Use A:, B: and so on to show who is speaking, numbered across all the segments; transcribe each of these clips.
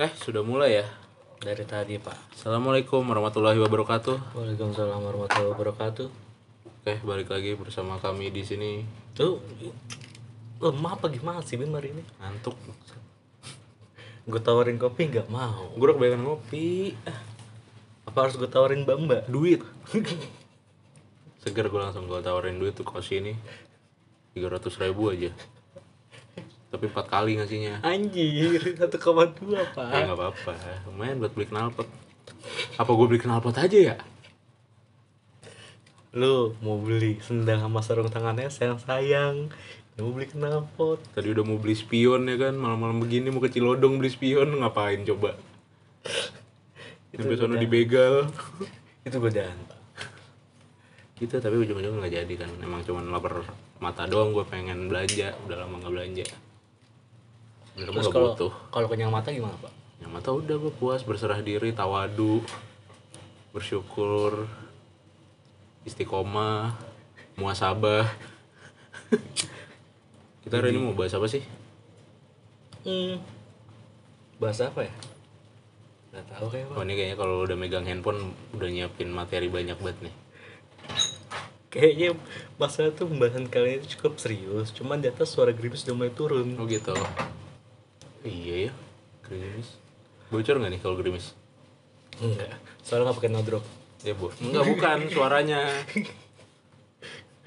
A: Eh, sudah mulai ya?
B: Dari tadi pak
A: Assalamualaikum warahmatullahi wabarakatuh.
B: Waalaikumsalam warahmatullahi wabarakatuh
A: Oke, balik lagi bersama kami di sini.
B: Tuh Lemah apa gimana sih Bim hari ini?
A: Ngantuk.
B: Gue tawarin kopi nggak mau
A: Gue udah kebanyakan ngopi. Ah,
B: Apa harus gue tawarin bamba?
A: Duit. Seger gue langsung gue tawarin duit tuh kos ini. 300 ribu aja. Tapi empat kali ngasihnya.
B: Anjir 1,2
A: Ya
B: pak
A: nggak apa-apa. Lumayan buat beli knalpot. Apa gue beli knalpot aja ya?
B: Lu mau beli sendal sama sarung tangannya sayang-sayang Ya, Mau beli knalpot
A: Tadi udah mau beli spion ya kan, malam-malam begini mau ke Cilodong beli spion, ngapain coba? Sampai sana dibegal.
B: Itu godaan pak
A: gitu tapi ujung-ujungnya nggak jadi kan emang cuman lapar mata doang gue pengen belanja udah lama nggak belanja udah lama
B: Terus
A: nggak
B: kalau
A: butuh
B: kalau kenyang mata gimana pak?
A: yang mata udah gue puas berserah diri tawadu bersyukur istiqomah muasabah kita hari ini mau bahas apa sih
B: Hmm. Bahasa apa ya? Gak tahu kayak pak
A: oh ini kayaknya kalau udah megang handphone udah nyiapin materi banyak banget nih
B: Kayaknya masalah tuh pembahasan kali ini cukup serius Cuman di atas suara gerimis udah mulai turun
A: oh gitu iya ya gerimis bocor nggak nih kalau gerimis
B: Enggak, soalnya gak pakai no drop.
A: Ya bu, enggak bukan suaranya.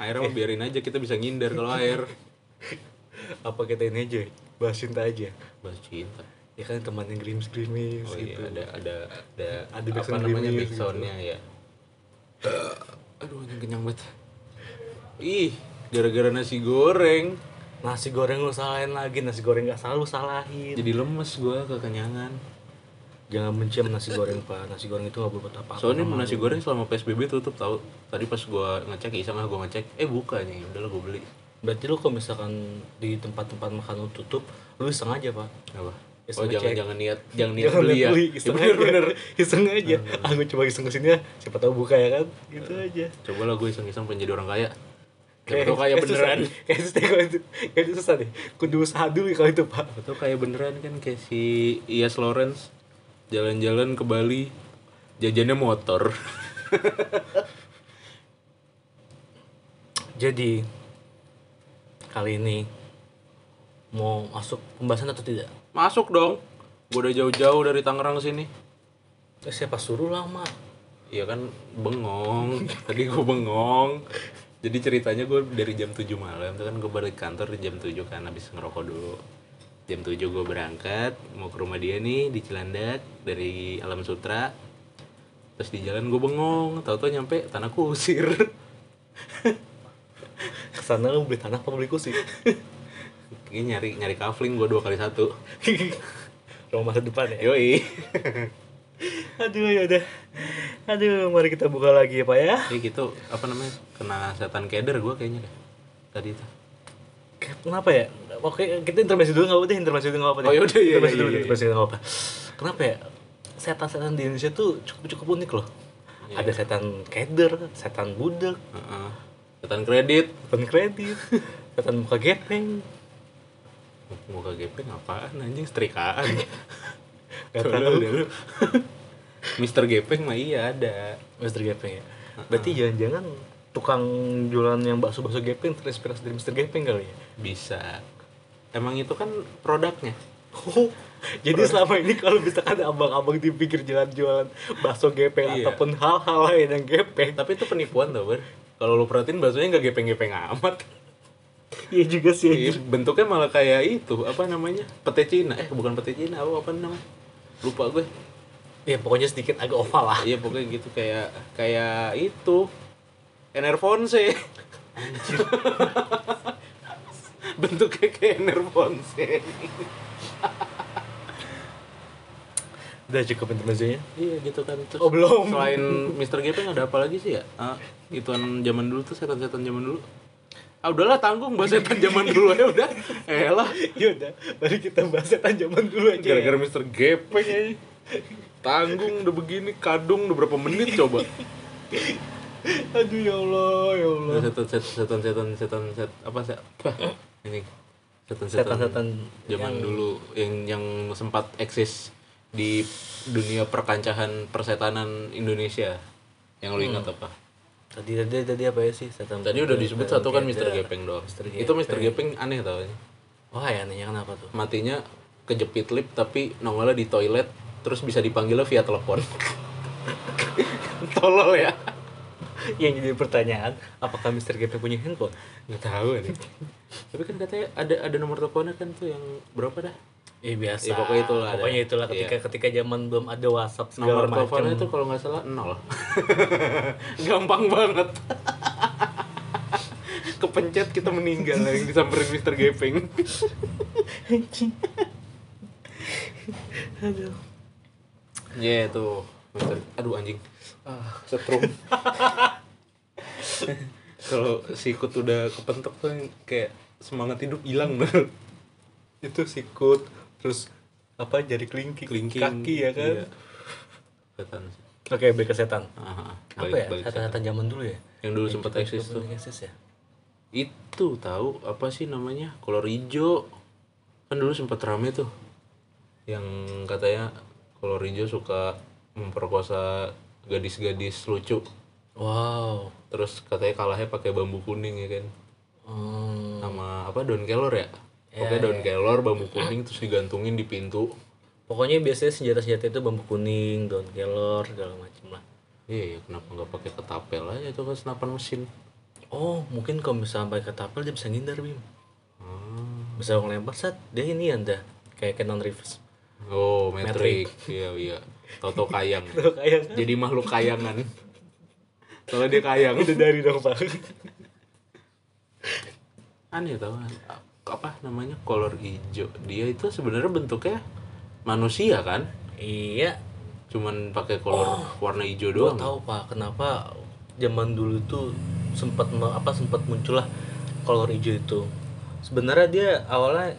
A: Airnya mah biarin aja kita bisa ngindar kalau air.
B: Apa kita ini aja, bahas cinta aja.
A: Bahas cinta.
B: Ya kan temannya gerimis-gerimis
A: Oh iya
B: gitu.
A: ada ada ada,
B: Ada
A: apa
B: backsound
A: namanya
B: gerimis
A: backsoundnya ya. Eh, Aduh anjing kenyang banget. Ih gara-gara nasi goreng
B: Nasi goreng lu salahin lagi, nasi goreng gak selalu salahin.
A: jadi lemes gua kekenyangan.
B: Jangan mencium nasi goreng, Pak. Nasi goreng itu gak buat apa-apa.
A: Soalnya nasi goreng selama PSBB tutup tahu. Tadi pas gua ngecek iseng lah gua ngecek, eh buka nih, udah lah gua beli.
B: Berarti lu kalau misalkan di tempat-tempat makan lu tutup, lu iseng aja, Pak.
A: Apa? Oh
B: Iseng ngecek.
A: jangan jangan niat jangan niat beli ya.
B: beli,
A: Ya
B: iseng aja.
A: bener-bener.
B: Iseng aja. Aku coba iseng kesini ya, siapa tahu buka ya kan. Gitu aja.
A: Coba lah gue iseng-iseng pengen jadi orang kaya. Kayak kan? kok kaya
B: susah
A: beneran.
B: nih. Kayak susah kalau itu. Kayak itu susah deh. Kudu usaha dulu kalau itu, Pak.
A: Atau kaya beneran kan kayak si Ias Lawrence jalan-jalan ke Bali jajannya motor.
B: Jadi kali ini mau masuk pembahasan atau tidak?
A: Masuk dong. Gue udah jauh-jauh dari Tangerang sini.
B: Eh, Siapa suruh lama?
A: Iya kan bengong. Tadi gue bengong. Jadi ceritanya gue dari jam 7 malam tuh kan gue balik kantor di jam 7 kan habis ngerokok dulu. Jam 7 gue berangkat mau ke rumah dia nih di Cilandak dari Alam Sutra. Terus di jalan gue bengong, tahu-tahu nyampe tanah kusir.
B: Kesana lu beli tanah apa beli kursi?
A: Ini nyari nyari kafling gue dua kali satu.
B: Rumah masa depan ya?
A: Yoi.
B: Aduh ya udah. Aduh mari kita buka lagi ya Pak ya.
A: Jadi gitu apa namanya kena setan keder gue kayaknya deh tadi itu.
B: Kenapa ya? Oke kita intermezzo dulu nggak apa-apa deh intermezzo dulu nggak apa-apa. deh.
A: Oh, yaudah, iya, iya,
B: Intermezzo dulu
A: iya, iya.
B: intermezzo dulu nggak apa. Kenapa ya? Setan-setan di Indonesia tuh cukup cukup unik loh.
A: Iya.
B: Ada setan keder, setan budak,
A: Heeh. Setan kredit.
B: setan kredit, setan muka gepeng.
A: Muka gepeng apaan anjing setrikaan.
B: Gak
A: Tolol
B: tahu.
A: deh lu. Mister Gepeng mah iya ada.
B: Mister Gepeng ya. Berarti jangan-jangan tukang jualan yang bakso-bakso Gepeng terinspirasi dari Mister Gepeng kali ya.
A: Bisa. Emang itu kan produknya.
B: Oh, jadi selama ini kalau misalkan abang-abang dipikir jualan-jualan bakso Gepeng
A: Iya.
B: ataupun hal-hal lain yang Gepeng,
A: Tapi itu penipuan tau ber. Kalau lu perhatiin baksonya nggak gepeng-gepeng amat.
B: iya juga sih.
A: Iya,
B: anjir.
A: bentuknya malah kayak itu apa namanya pete Cina eh bukan pete Cina apa apa namanya lupa gue
B: Ya pokoknya sedikit agak oval lah.
A: iya pokoknya gitu kayak kayak itu Enerfonse bentuknya kayak Enerfonse
B: Udah cukup intermezzonya.
A: iya gitu kan terus
B: Oh, belum.
A: selain Mr. Gepeng ada apa lagi sih ya Ah, ituan zaman dulu tuh setan-setan zaman dulu ah udahlah tanggung bahas setan zaman dulu ya udah elah
B: Ya udah, mari kita bahas setan zaman dulu aja. ya.
A: gara-gara Mr. Gepeng aja tanggung udah begini kadung udah berapa menit coba
B: Aduh ya Allah, ya Allah.
A: setan setan setan setan setan set apa set apa ini setan setan
B: Setan-setan
A: zaman
B: yang-
A: dulu yang yang sempat eksis di dunia perkancahan persetanan Indonesia yang lu ingat apa?
B: Tadi tadi tadi apa ya sih? Setan
A: Tadi udah disebut
B: setan
A: satu kan Mr.
B: keder.
A: Gepeng doang.
B: Mr.
A: Itu Mr. Gepeng aneh tau
B: Wah, ya anehnya kenapa tuh?
A: matinya kejepit lip tapi nongolnya di toilet terus bisa dipanggilnya via telepon. Tolol ya.
B: yang jadi pertanyaan, apakah Mr. Gepeng punya handphone?
A: Nggak tahu nih. tapi kan katanya ada ada nomor teleponnya kan tuh yang berapa dah?
B: Ya biasa.
A: Ya, pokoknya itulah ada.
B: Pokoknya itulah Iya. ketika ketika zaman belum ada WhatsApp segala
A: Nomor
B: macam.
A: teleponnya itu kalau nggak salah nol. Gampang banget. Kepencet kita meninggal ya, yang disamperin Mr. Gepeng.
B: Aduh.
A: Ya tuh. Mister- Aduh anjing. Ah, setrum. Kalau sikut udah kepentok tuh kayak semangat hidup hilang loh. Itu sikut terus
B: Apa jari kelingking,
A: kelingking
B: kaki ya kan?
A: Iya. Setan.
B: Oke, balik ke setan.
A: Ah, ah,
B: apa
A: balik-
B: ya?
A: balik setan.
B: Setan-setan zaman dulu ya?
A: Yang dulu sempat eksis tuh.
B: Eksis ya?
A: Itu tahu apa sih namanya? Kolor hijau. Kan dulu sempat rame tuh. Yang katanya kolor hijau suka memperkosa gadis-gadis lucu.
B: Wow.
A: terus katanya kalahnya pakai bambu kuning ya kan
B: Hmm.
A: sama apa daun kelor ya pokoknya daun kelor bambu kuning terus digantungin di pintu
B: Pokoknya biasanya senjata-senjata itu bambu kuning, daun kelor, segala macam lah.
A: iya ya, kenapa nggak pakai ketapel aja itu kan senapan mesin
B: Oh, mungkin kalau misalnya pakai ketapel dia bisa ngindar, Bim.
A: Ah.
B: Bisa ngelempar, set. Dia ini ya, anda. Kayak Canon Reeves.
A: oh metrik iya iya toto kayang
B: Kayak
A: jadi makhluk kayangan kalau dia kayang
B: dari dong, Pak.
A: aneh tau kan? apa namanya kolor hijau dia itu sebenarnya bentuknya manusia kan
B: iya,
A: cuman pakai kolor warna hijau
B: gua
A: doang
B: tahu, Pak, kenapa zaman dulu tuh sempat me- apa sempat muncullah kolor hijau itu. Sebenarnya dia awalnya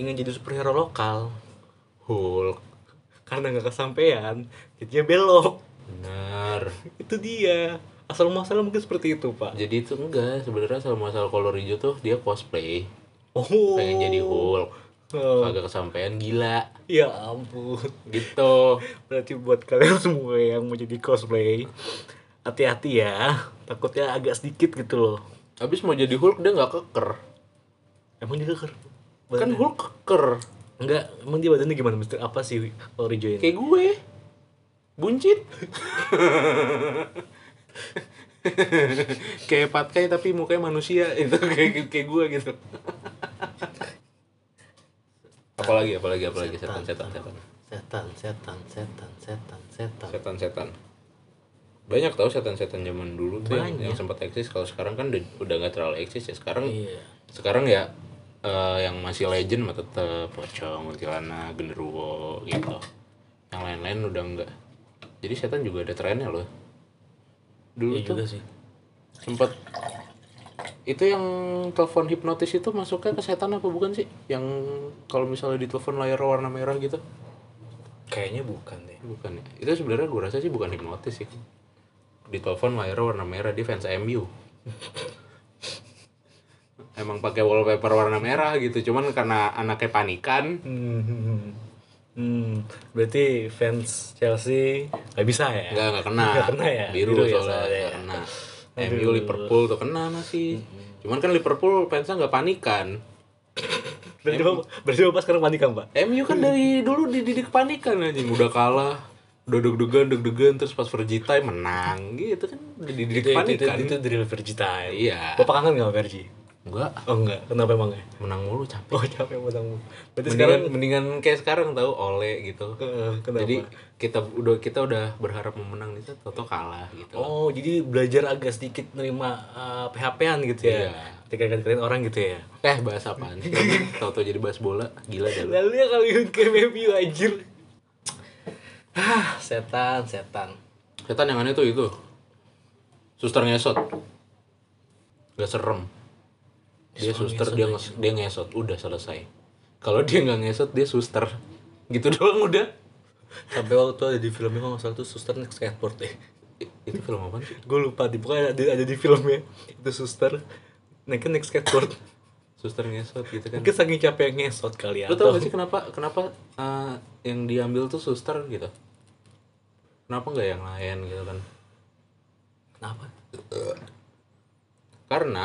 B: ingin jadi superhero lokal
A: Hulk
B: karena nggak kesampaian, jadinya belok.
A: benar
B: itu dia asal muasal mungkin seperti itu pak
A: Jadi itu enggak, sebenarnya asal masalah kolor hijau tuh dia cosplay,
B: oh
A: pengen jadi Hulk,
B: Oh.
A: kagak kesampaian gila
B: ya ampun
A: gitu.
B: berarti buat kalian semua yang mau jadi cosplay hati-hati ya takutnya agak sedikit gitu loh
A: Abis mau jadi Hulk dia nggak keker,
B: emang dia keker
A: kan Hulk keker
B: enggak emang dia badannya gimana mister apa sih kalau hijau ini
A: kayak gue, buncit. kayak patkai tapi mukanya manusia itu kayak kayak gue gitu. apalagi apalagi apalagi setan setan setan
B: setan setan setan setan setan
A: setan setan banyak tau setan-setan zaman dulu tuh yang,
B: Banyak.
A: yang sempat eksis kalau sekarang kan udah udah nggak terlalu eksis ya sekarang
B: iya
A: sekarang ya eh, yang masih legend mah tetep pocong kuntilanak genderuwo gitu yang lain-lain udah enggak jadi setan juga ada trennya loh dulu
B: iya
A: tuh
B: juga sih
A: sempat itu yang telepon hipnotis itu masuknya ke setan apa bukan sih yang kalau misalnya ditelepon layar warna merah gitu
B: kayaknya bukan deh
A: Bukan ya. Itu sebenarnya gue rasa sih bukan hipnotis sih. Ditelepon layarnya warna merah, dia fans MU. Emang pakai wallpaper warna merah gitu, cuman karena anaknya panikan.
B: hmm. hmm. berarti fans Chelsea nggak bisa ya
A: Enggak, enggak kena.
B: Nggak kena ya?
A: Biru,
B: Biru ya
A: soalnya,
B: soalnya
A: nggak
B: ya.
A: kena. MU Liverpool tuh kena masih. Cuman kan Liverpool fansnya nggak panikan.
B: Berarti bapak, berarti bapak sekarang panikan pak?
A: MU kan dari dulu dididik panikan aja, udah kalah udah deg-degan deg-degan terus pas Vergi time menang gitu kan udah dididik panikan
B: ya, itu, dari Vergi time.
A: Iya.
B: Bapak kangen nggak sama Vergi?
A: enggak
B: Oh enggak, kenapa emangnya?
A: menang mulu capek
B: Oh capek botamu. Berarti sekarang
A: mendingan mendingan kayak sekarang tahu oleh gitu
B: eh, kenapa?
A: jadi kita udah kita udah berharap memenang itu toto kalah gitu
B: oh jadi belajar agak sedikit nerima eh, PHP-an gitu ya?
A: Iya.
B: Ketika ngatain orang gitu ya?
A: eh bahas apaan sih toto jadi bahas bola gila dah lu
B: Lalu ya kalau ikut ke MU anjir. Ah, setan, setan.
A: setan yang aneh tuh itu suster ngesot gak serem dia suster dia nges- dia ngesot udah selesai kalau dia nggak ngesot dia suster gitu doang udah
B: Sampai waktu ada di filmnya kalau nggak salah tuh suster naik skateboard deh.
A: I- itu film apa sih
B: Gue lupa di pokoknya ada, ada di filmnya itu suster naiknya naik skateboard.
A: suster ngesot gitu kan
B: Mungkin saking capek ngesot kali ya.
A: Lo tau
B: atau-
A: gak sih kenapa kenapa eh, yang diambil tuh suster gitu? Kenapa nggak yang lain gitu kan?
B: Kenapa?
A: Karena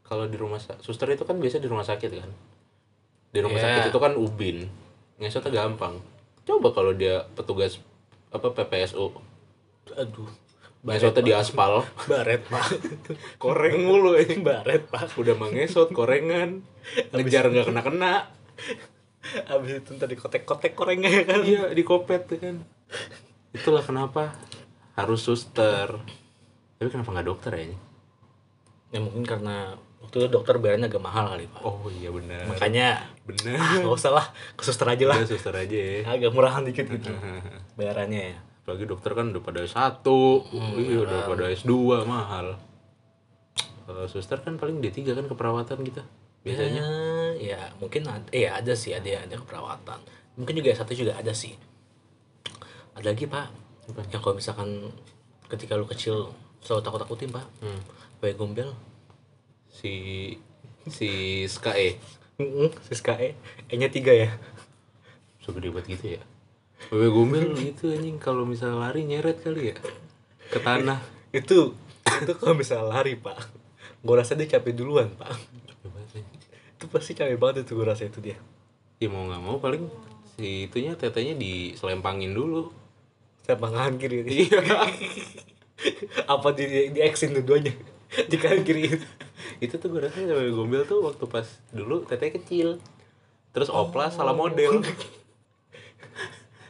A: kalau di rumah sa- suster itu kan biasa di rumah sakit kan. Di rumah
B: Iya.
A: sakit itu kan ubin, ngesotnya gampang. Coba kalau dia petugas apa PPSU,
B: Aduh.
A: ngesotnya di aspal,
B: Baret, Pak.
A: koreng mulu eh.
B: Baret, Pak.
A: Udah mengesot korengan, ngejar nggak kena kena.
B: Abis itu tadi kotek-kotek korengnya ya kan.
A: Iya di kopet tuh kan. Itulah kenapa harus suster. Tapi kenapa nggak dokter ya? ini?
B: Ya mungkin karena waktu itu dokter bayarnya agak mahal kali, Pak.
A: Oh iya benar.
B: Makanya
A: benar.
B: ah, nggak usah lah, ke suster aja lah.
A: Udah suster aja ya.
B: Agak murahan dikit gitu. Bayarannya ya.
A: Apalagi dokter kan udah pada satu, iya udah pada S2 mahal. Kalau suster kan paling D3 kan keperawatan kita. Biasanya
B: Biasanya ya mungkin ada, eh ada sih ada ada keperawatan. Mungkin juga satu juga ada sih. Ada lagi pak,
A: Apa?
B: yang kalau misalkan ketika lu kecil selalu takut takutin pak,
A: Hmm.
B: kayak gombel.
A: si si E. SKE
B: Mm-mm, Siska E, E-nya tiga ya.
A: segede buat gitu ya. Bebe gombel gitu anjing kalau misal lari nyeret kali ya ke tanah.
B: Itu itu kalau misalnya lari pak, gua rasa dia capek duluan pak.
A: Capek banget, anjing.
B: Itu pasti capek banget itu gua rasa itu dia.
A: Ya mau nggak mau paling si itunya tetenya diselempangin dulu.
B: Saya pangahan kiri ini.
A: Iya.
B: Apa di di action dua-duanya di kanan kiri.
A: itu tuh gue rasa sampai gombel tuh waktu pas dulu teteh kecil terus oplas salah model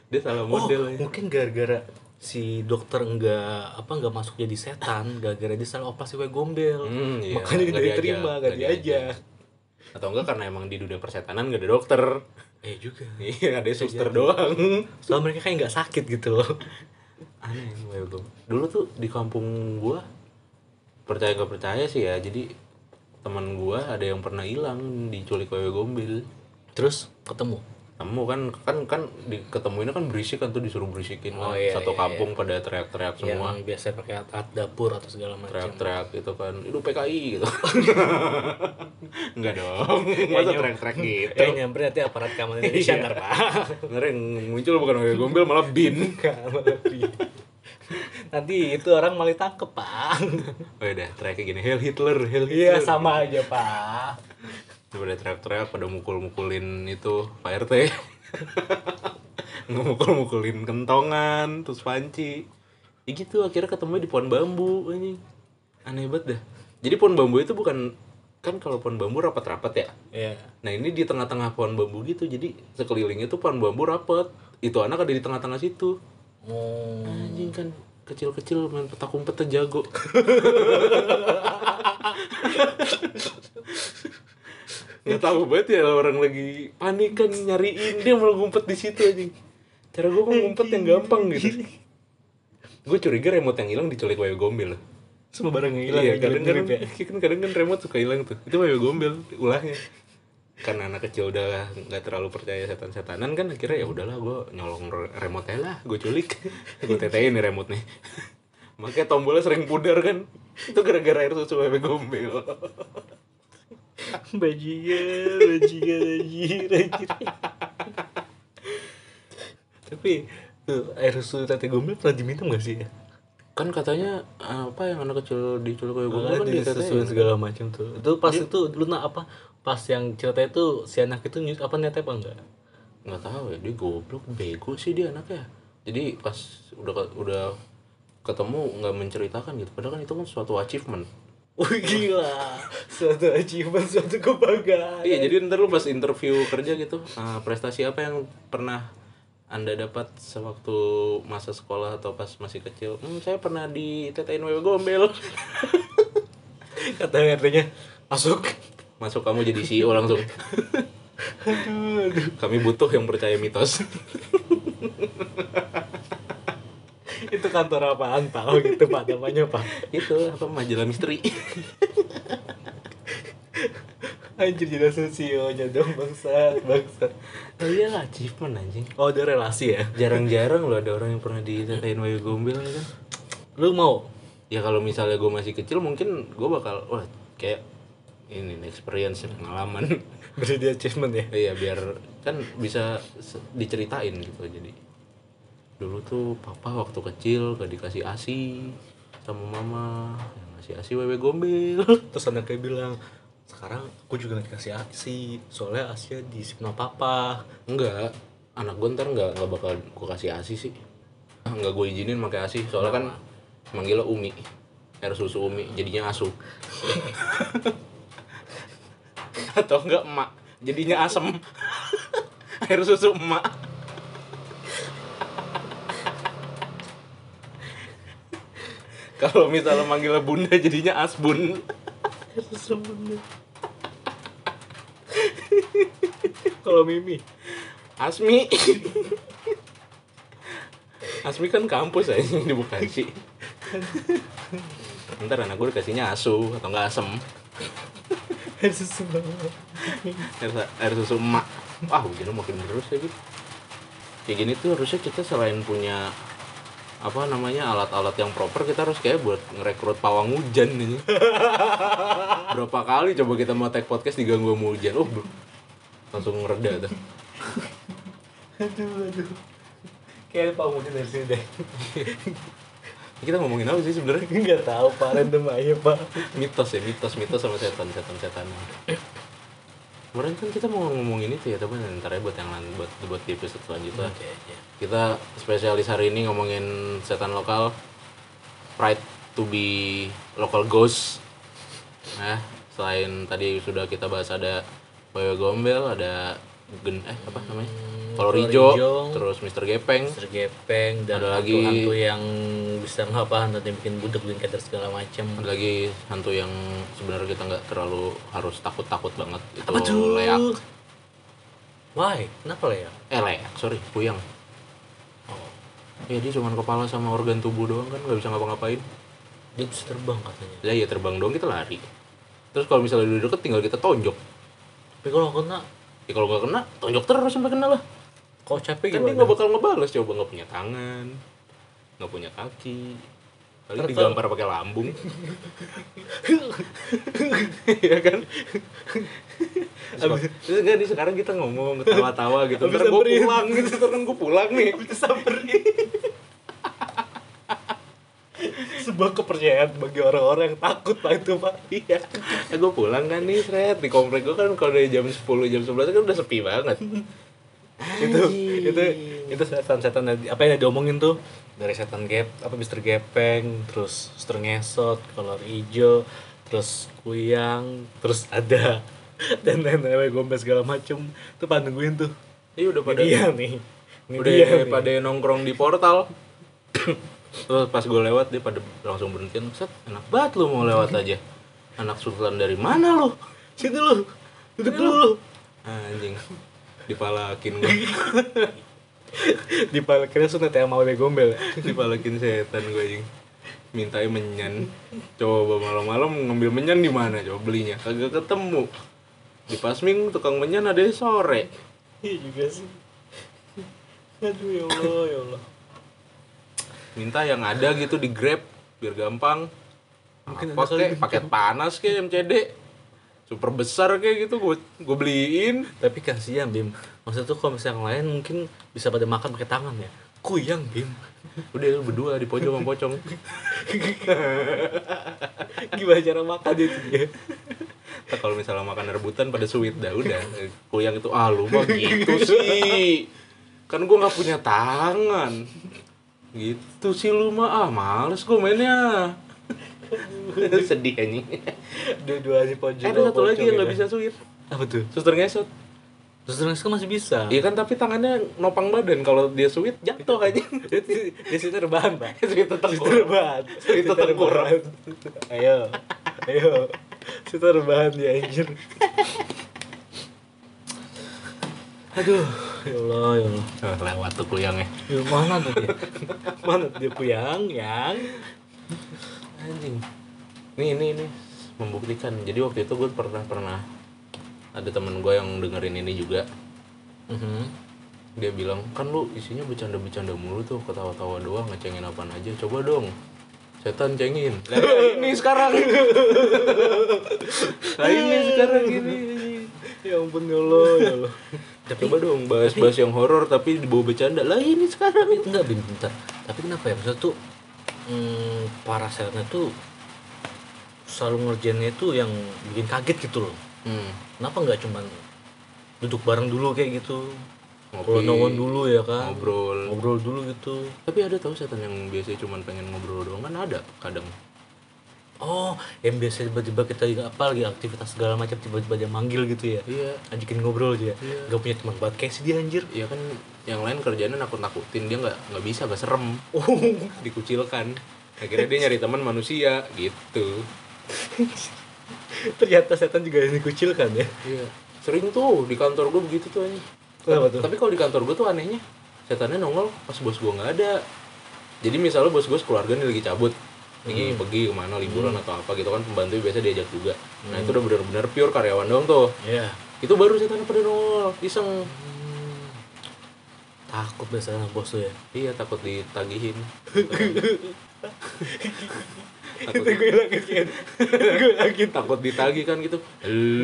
A: dia salah model
B: oh,
A: ya.
B: mungkin gara-gara si dokter enggak apa enggak masuk jadi setan gara-gara dia salah operasi wewe gombel
A: Hmm, iya,
B: makanya
A: nggak
B: tidak diterima
A: diajak,
B: gak
A: nggak
B: diajak
A: atau enggak karena emang di dunia persetanan gak ada dokter
B: eh juga
A: iya ada suster doang
B: soalnya mereka kayak nggak sakit gitu loh
A: aneh emang wewe gombel. dulu tuh di kampung gua percaya gak percaya sih ya jadi teman gua ada yang pernah hilang diculik wewe gombel
B: terus ketemu
A: kamu kan kan kan di, ketemuinnya kan berisik kan tuh disuruh berisikin
B: Oh,
A: kan.
B: iya,
A: satu
B: iya,
A: kampung pada teriak-teriak semua
B: yang biasa pakai alat dapur atau segala macam
A: teriak-teriak gitu kan itu PKI gitu enggak dong masa
B: nyam-
A: teriak-teriak gitu
B: eh nyamper nanti aparat keamanan Indonesia ntar pak
A: sebenarnya yang muncul bukan Wewe Gombel malah bin
B: nanti itu orang malah tangkep pak
A: oh udah teriaknya gini Hail Hitler Hail
B: iya
A: Hitler
B: sama aja pak
A: Udah pada teriak-teriak pada mukul-mukulin itu Pak RT mukul-mukulin kentongan terus panci ya gitu akhirnya ketemu di pohon bambu anjing aneh banget dah jadi pohon bambu itu bukan kan kalau pohon bambu rapat-rapat ya
B: iya
A: Nah ini di tengah-tengah pohon bambu gitu, jadi sekelilingnya tuh pohon bambu rapet. Itu anak ada di tengah-tengah situ.
B: oh
A: Anjing kan kecil-kecil main petak umpetnya jago. Nggak tahu banget ya orang lagi panik kan nyariin dia mau ngumpet di situ anjing. Cara gue mau ngumpet yang gampang gitu. Gue curiga remote yang hilang diculik Wayo Gombel.
B: semua barang yang hilang
A: Iya,
B: yang
A: kadang kadang
B: mirip-mirip ya.
A: kan kadang kan remote suka hilang tuh. Itu Wayo Gombel ulahnya. Karena anak kecil udah nggak terlalu percaya setan-setanan kan akhirnya ya udahlah gue nyolong re- remote aja lah, gue culik. gue tetein nih remote nih. Makanya tombolnya sering pudar kan. Itu gara-gara air susu Wayo Gombel.
B: Bajingan, bajingan, bajingan, bajingan. Tapi tuh, air susu tete gombel pernah diminum gak sih?
A: kan katanya apa yang anak kecil diculik Wayo Gombel kan
B: di susu
A: ditetein.
B: segala macam tuh. Itu pas itu lu na apa? Pas yang cerita itu si anak itu nyus apa nyata apa enggak?
A: nggak tahu ya dia goblok bego sih dia anaknya jadi pas udah udah ketemu nggak menceritakan gitu padahal kan itu kan suatu achievement
B: Wih gila, suatu achievement, suatu kebanggaan.
A: iya jadi ntar lu pas interview kerja gitu ah, prestasi apa yang pernah anda dapat sewaktu masa sekolah atau pas masih kecil hmm, saya pernah di tetain wewe gombel
B: Kata RT-nya, masuk.
A: masuk kamu jadi CEO langsung
B: Aduh, aduh.
A: kami butuh yang percaya mitos
B: Itu kantor apaan pak? Oh gitu pak, namanya pak.
A: itu apa majalah misteri
B: Anjir jadi sosio-nya dong bangsat, bangsat.
A: oh, iyalah achievement anjing
B: Oh ada relasi ya?
A: jarang-jarang loh ada orang yang pernah ditetain wewe gombel ya kan
B: Lu mau
A: ya kalau misalnya gue masih kecil mungkin gue bakal wah kayak ini experience pengalaman
B: Berarti dia achievement ya.
A: iya biar kan bisa se- diceritain gitu jadi dulu tuh papa waktu kecil gak dikasih asi sama mama yang ngasih asi wewe gombel
B: Terus anaknya bilang, sekarang aku juga nggak dikasih asi, soalnya Asia diisip sama papa.
A: enggak anak gue ntar nggak nggak bakal gue kasih asi sih Ah, nggak gue izinin pakai asi soalnya kan manggilnya umi air susu umi jadinya asu atau enggak emak jadinya asem air susu emak kalau misalnya manggilnya bunda jadinya asbun
B: Kalau Mimi,
A: Asmi Asmi kan kampus aja di Bekasi Ntar anak gue dikasihnya asu atau enggak asem
B: susu banget.
A: air, air susu emak Wah hujannya makin terus lagi Kayak gini tuh harusnya kita selain punya apa namanya alat-alat yang proper kita harus kayak buat ngerekrut pawang hujan ini berapa kali coba kita mau tag podcast diganggu sama hujan oh bro. langsung reda tuh
B: Aduh, aduh. Kayaknya Pak Mungkin dari sini deh.
A: kita ngomongin apa sih sebenarnya
B: Nggak tahu Pak, random aja Pak.
A: mitos ya mitos mitos sama setan setan setan
B: Eh.
A: kemarin kan kita mau ngomongin itu ya tapi ntar ya buat yang lan- buat buat di episode selanjutnya
B: iya.
A: kita spesialis hari ini ngomongin setan lokal pride to be local ghost nah selain tadi sudah kita bahas ada Wewe Gombel ada gen eh apa namanya
B: Hmm,
A: Kolorijo,
B: Kolorijo.
A: terus Mr. Gepeng
B: Mister Gepeng dan
A: Ada lagi-
B: hantu yang bisa ngapa hantu yang bikin budak bikin kader segala macam.
A: ada lagi hantu yang sebenarnya kita nggak terlalu harus takut-takut banget itu
B: Apa tuh?
A: leak
B: Why? Kenapa ya? leak?
A: eh leak sorry puyang
B: Oh,
A: ya dia cuman kepala sama organ tubuh doang kan nggak bisa ngapa-ngapain
B: dia bisa terbang katanya.
A: lah ya terbang doang kita lari terus kalau misalnya udah deket tinggal kita tonjok
B: Tapi kalau kena,
A: ya kalau nggak kena tonjok terus sampai kena lah
B: kalau capek
A: kan dia nggak bakal ngebales coba nggak punya tangan nggak punya kaki kali
B: Terus-
A: digampar pakai lambung Iya kan Abis, terus nggak nih sekarang kita ngomong ketawa-tawa gitu
B: Abis
A: ntar gue
B: samperin.
A: pulang gitu ntar kan gue pulang nih
B: bisa samperin. Sebuah kepercayaan bagi orang-orang yang takut pak itu pak.
A: iya eh, gue pulang kan nih seret di komplek gue kan kalau dari jam 10 jam 11 kan udah sepi banget
B: itu itu itu setan-setan tadi- apa yang diomongin tuh dari setan gap apa Mister Gepeng terus Mister Ngesot kolor ijo terus kuyang terus ada dan lain-lain gombes segala macem tuh pada nungguin tuh
A: ini Iya, udah
B: ini
A: pada
B: dia nih ini
A: udah
B: dia nih.
A: pada nongkrong di portal terus pas gue lewat dia pada langsung berhenti set enak banget lu mau lewat aja anak sultan dari mana lu
B: situ lu duduk dulu
A: anjing dipalakin gue
B: di palkirnya sunat yang mau gombel ya.
A: dipalakin setan gue anjing mintai menyan coba malam-malam ngambil menyan di mana coba belinya kagak ketemu di pasming tukang menyan ada sore
B: iya juga sih aduh ya allah ya allah
A: minta yang ada gitu di grab biar gampang
B: Mungkin
A: apa
B: ada kali
A: kek paket panas kek MCD super besar kek gitu gue gue beliin
B: tapi kasihan Bim maksudnya tuh kalau misalnya yang lain mungkin bisa pada makan pakai tangan ya kuyang Bim
A: udah lu berdua di pojok sama pocong
B: gimana cara makan itu ya
A: Ntar kalau misalnya makan rebutan pada sweet dah udah kuyang itu ah lu mah gitu sih kan gue nggak punya tangan gitu sih lu mah ah males gue mainnya sedih anjing
B: dua-duanya pojok
A: Eh,
B: ya.
A: ada satu lagi yang nggak bisa sweet
B: apa tuh
A: suster ngesot
B: terus terus kan masih bisa
A: Iya kan tapi tangannya nopang badan kalau dia sweet jatuh aja.
B: di situ rebahan pak
A: sweet
B: situ
A: tetap
B: rebahan
A: Situ tengkorak.
B: rebahan. ayo ayo situ rebahan ya anjir aduh ya allah ya allah
A: Oh, lewat tuh kuyangnya.
B: Ya, mana tuh dia mana tuh dia kuyang yang
A: Anjing. Nih ini ini membuktikan. Jadi waktu itu gue pernah pernah ada temen gue yang dengerin ini juga.
B: Mhm.
A: Dia bilang kan lu isinya bercanda-bercanda mulu tuh ketawa-tawa doang ngecengin apaan aja. Coba dong setan cengin Lah, ini sekarang Lah, ini sekarang gini
B: ya ampun ya Allah ya Allah
A: coba dong bahas-bahas yang horor tapi dibawa bercanda lah ini sekarang
B: tapi enggak bin bentar tapi kenapa ya maksudnya tuh hmm, para selebnya tuh selalu ngerjainnya itu yang bikin kaget gitu loh
A: hmm.
B: kenapa nggak cuman duduk bareng dulu kayak gitu
A: Ngopi.
B: kalau nongol dulu ya kan
A: ngobrol
B: ngobrol dulu gitu
A: tapi ada tau setan yang biasanya cuman pengen ngobrol doang kan ada kadang
B: oh yang biasa tiba-tiba kita lagi apa lagi aktivitas segala macam tiba-tiba dia manggil gitu ya
A: iya
B: ajakin ngobrol aja
A: Iya.
B: nggak punya teman buat kayak si dia anjir
A: ya kan yang lain kerjanya nakut nakutin dia nggak nggak bisa gak serem
B: Oh,
A: dikucilkan akhirnya dia nyari teman manusia gitu
B: ternyata setan juga yang dikucilkan ya
A: iya sering tuh di kantor gue begitu tuh anjing
B: Kenapa tuh?
A: tapi kalau di kantor gue tuh anehnya setannya nongol pas bos gue nggak ada jadi misalnya bos gue keluarga nih lagi cabut lagi pergi kemana liburan atau apa gitu kan pembantu biasa diajak juga nah itu udah benar-benar pure karyawan doang tuh
B: Iya.
A: itu baru setan pada nongol iseng Hmm.
B: takut biasanya sama bos tuh ya
A: iya takut ditagihin
B: itu gue lagi kan gue lagi
A: takut ditagih kan gitu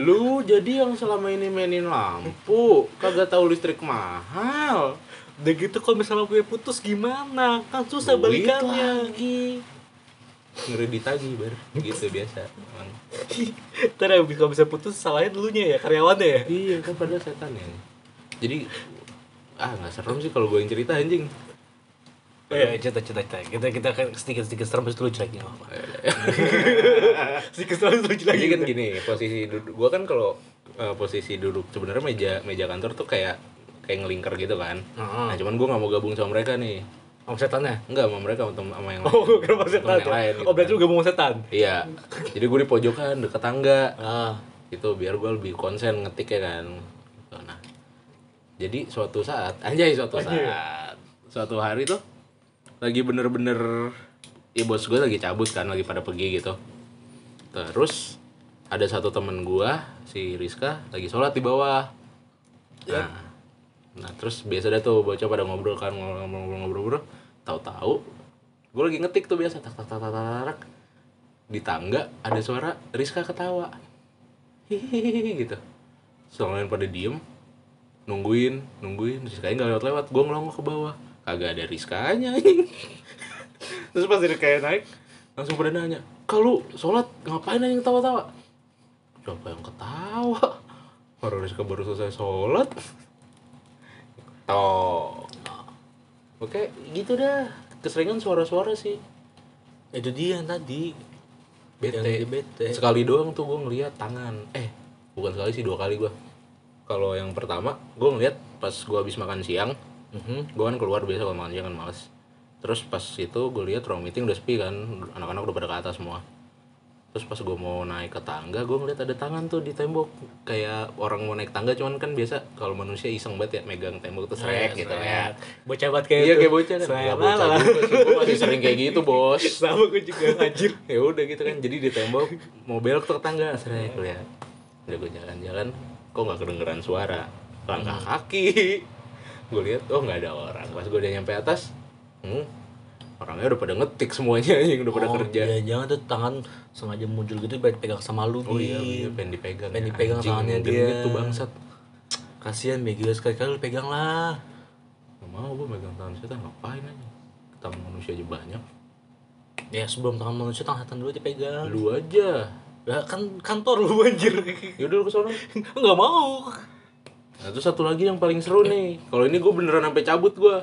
A: lu jadi yang selama ini mainin lampu kagak tahu listrik mahal
B: udah gitu kalau misalnya gue putus gimana kan susah
A: Duit
B: balikannya
A: lagi ngeri ditagih bar gitu biasa emang.
B: ntar yang kalau bisa putus salahnya dulunya ya karyawannya ya
A: iya kan padahal setan ya jadi ah nggak serem sih kalau gue yang cerita anjing
B: Iya, cerita cerita cerita. Kita kita akan sedikit sedikit serem terus lucu lagi nggak Iya. apa. Iya, sedikit serem terus lucu lagi
A: jadi kan gini posisi duduk gue kan kalau eh, posisi duduk sebenarnya meja meja kantor tuh kayak kayak ngelingkar gitu kan nah cuman gue nggak mau gabung sama mereka nih
B: Om setannya.
A: Enggak sama mereka sama, sama yang lain.
B: Oh, kenapa
A: Sama
B: setan?
A: yang lain.
B: Oh, berarti
A: gitu
B: lu
A: kan.
B: gak mau setan?
A: Iya. Jadi gue di pojokan deket tangga.
B: Ah,
A: Itu biar gue lebih konsen ngetik ya kan. Gitu, Nah. Jadi suatu saat, anjay suatu saat. Suatu hari tuh lagi bener-bener ya bos gue lagi cabut kan, lagi pada pergi gitu. Terus ada satu temen gue, si Rizka lagi sholat di bawah. Nah, nah terus biasa dah tuh bocah pada ngobrol kan ngobrol-ngobrol-ngobrol, tahu-tahu gue lagi ngetik tuh biasa tak tak tak tak tak, tak. di tangga ada suara Rizka ketawa hihihi gitu soalnya pada diem nungguin nungguin Rizkanya nggak lewat lewat gue ngelongok ke bawah kagak ada Rizkanya terus pas Rizkanya naik langsung pada nanya kalau sholat ngapain aja ketawa-tawa siapa yang ketawa baru Rizka baru selesai sholat tok oke gitu dah keseringan suara-suara sih
B: Eh, itu dia yang tadi. Yang dia
A: bete
B: bete.
A: sekali doang tuh gue ngeliat tangan eh bukan sekali sih dua kali gue kalau yang pertama gue ngeliat pas gue habis makan siang
B: Mhm.
A: gue kan keluar biasa kalau makan siang kan males terus pas itu gue lihat ruang meeting udah sepi kan anak-anak udah pada ke atas semua terus pas gue mau naik ke tangga gue ngeliat ada tangan tuh di tembok kayak orang mau naik tangga cuman kan biasa kalau manusia iseng banget ya megang tembok
B: Nah,
A: terus srek gitu ya
B: Iya. Bocah banget kayak
A: iya
B: itu.
A: kayak bocah kan
B: Saya
A: Nggak bocah
B: malah.
A: juga sih gue masih sering kayak gitu bos
B: Sama gue juga anjir.
A: ya udah gitu kan jadi di tembok mau belok ke tetangga saya lihat udah gue jalan-jalan kok nggak kedengeran suara langkah kaki gue lihat oh nggak ada orang pas gue udah nyampe atas hmm, orangnya udah pada ngetik semuanya yang udah pada
B: Oh,
A: kerja
B: iya, jangan tuh tangan sengaja muncul gitu biar dipegang sama lu.
A: oh iya
B: Bin.
A: iya pengen dipegang
B: Pengen
A: ya.
B: dipegang
A: Anjing,
B: tangannya
A: genit
B: dia.
A: tuh bangsat
B: Kasihan Begi, sekali-kali lu pegang lah.
A: nggak mau gue megang tangan setan ngapain aja ketemu manusia aja banyak
B: Ya sebelum tangan manusia tangan setan dulu aja pegang.
A: lu aja
B: Ya kan kantor lu anjir.
A: yaudah lu kesana
B: Enggak mau.
A: Nah, terus satu lagi yang paling seru nih. Kalau ini gue beneran sampai cabut gue.